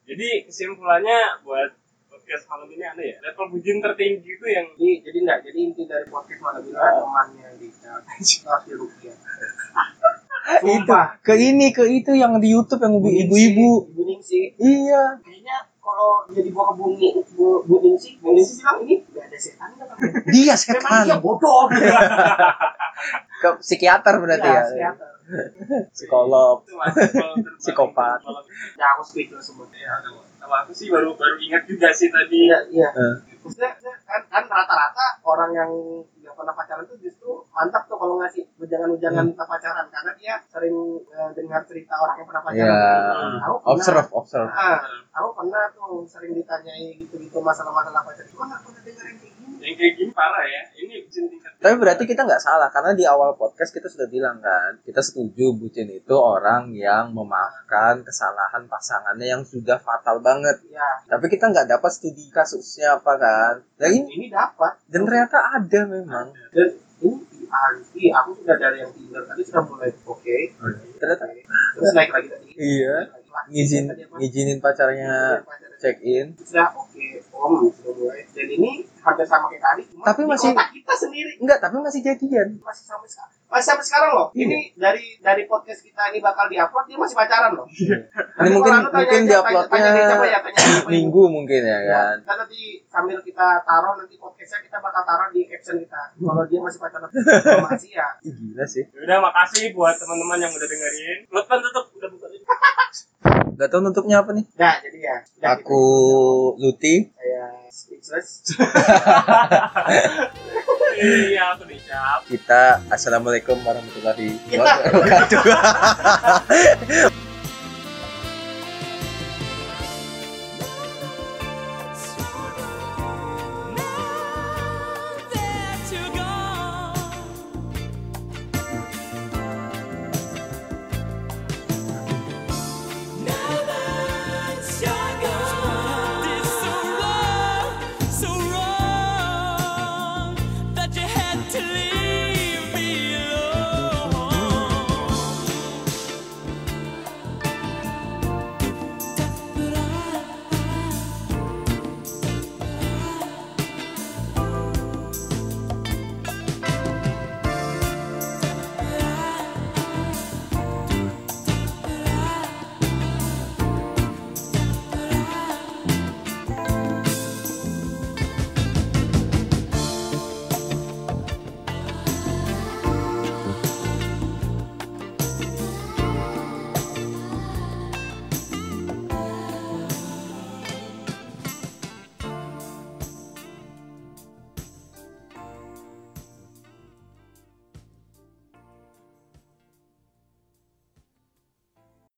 A: jadi kesimpulannya buat podcast malam ini ada ya level bucin tertinggi itu yang
C: jadi jadi enggak jadi inti dari podcast malam ini adalah temannya di kasih rupiah
B: itu ke ini ke itu yang di YouTube yang ibu- ibu-ibu.
C: ibu ningsih
B: Iya.
C: kayaknya kalau jadi bawa ke bumi bu bu ningsi bu ningsi bilang ini gak ada setan gak apa-apa."
B: Dia
C: memang iya. dia
B: setan.
C: bodoh gitu.
B: Ke psikiater berarti ya.
C: Iya, psikiater.
B: Psikolog.
A: itu masuk level terbaik.
B: Psikopat.
A: Malam-
C: ya aku speechless sebenarnya
A: ya kalau- kalau aku sih baru baru ingat juga sih tadi
C: iya iya
B: Eh,
C: maksudnya maksudnya kan kan rata-rata orang yang nggak pernah pacaran tuh justru mantap tuh kalau ngasih ujangan-ujangan
B: Hmm.
C: tentang pacaran karena dia sering eh, dengar cerita orang yang pernah pacaran Nah,
B: Iya.
C: Aku pernah-
B: Observe, observe.
C: Ah, aku pernah tuh sering ditanyai gitu-gitu masalah-masalah pacaran cuma nggak pernah dengar yang kayak gini
A: yang kayak gini parah ya ini bucin tingkat
B: Tapi berarti kita nggak salah karena di awal podcast kita sudah bilang kan kita setuju bucin itu orang yang memaafkan kesalahan pasangannya yang sudah fatal banget.
C: ya
B: Tapi kita nggak dapat studi kasusnya apa kan? Dan ini
C: ini dapat
B: dan ternyata ada memang.
C: dan ini anti aku sudah dari yang Tinder tadi sudah mulai oke
B: Ternyata
C: terus naik lagi tadi
B: iya.
C: naik lagi.
B: Ngizin eh,
C: Tadi apa?
B: ngizinin pacarnya check in.
C: sudah oke om sudah mulai dan ini hampir sama kayak tadi cuma
B: Tapi
C: di
B: masih-
C: otak kita sendiri
B: Enggak, tapi masih jadian.
C: masih sampai sekarang masih sampai sekarang loh
B: Iya.
C: ini dari dari podcast kita ini bakal diupload dia masih pacaran loh
B: Ini
C: Nanti
B: Iya. mungkin
C: kalau lu tanya
B: mungkin
C: aja,
B: diuploadnya
C: tanya- tanya- coba ya, tanya- tanya- tanya-
B: minggu mungkin ya kan.
C: Kan nanti sambil kita taruh nanti podcastnya kita bakal taruh di caption kita. Kalau dia masih pacaran, kalau masih ya
B: Ih, Gila sih.
A: udah makasih buat teman-teman yang udah dengerin Lutfan tutup udah buka
B: Gak tau nutupnya apa nih.
C: Nah, jadi ya. udah gitu.
B: Aku Luti.
C: saya speechless.
A: iya aku dicap
B: Kita Assalamualaikum warahmatullahi wabarakatuh.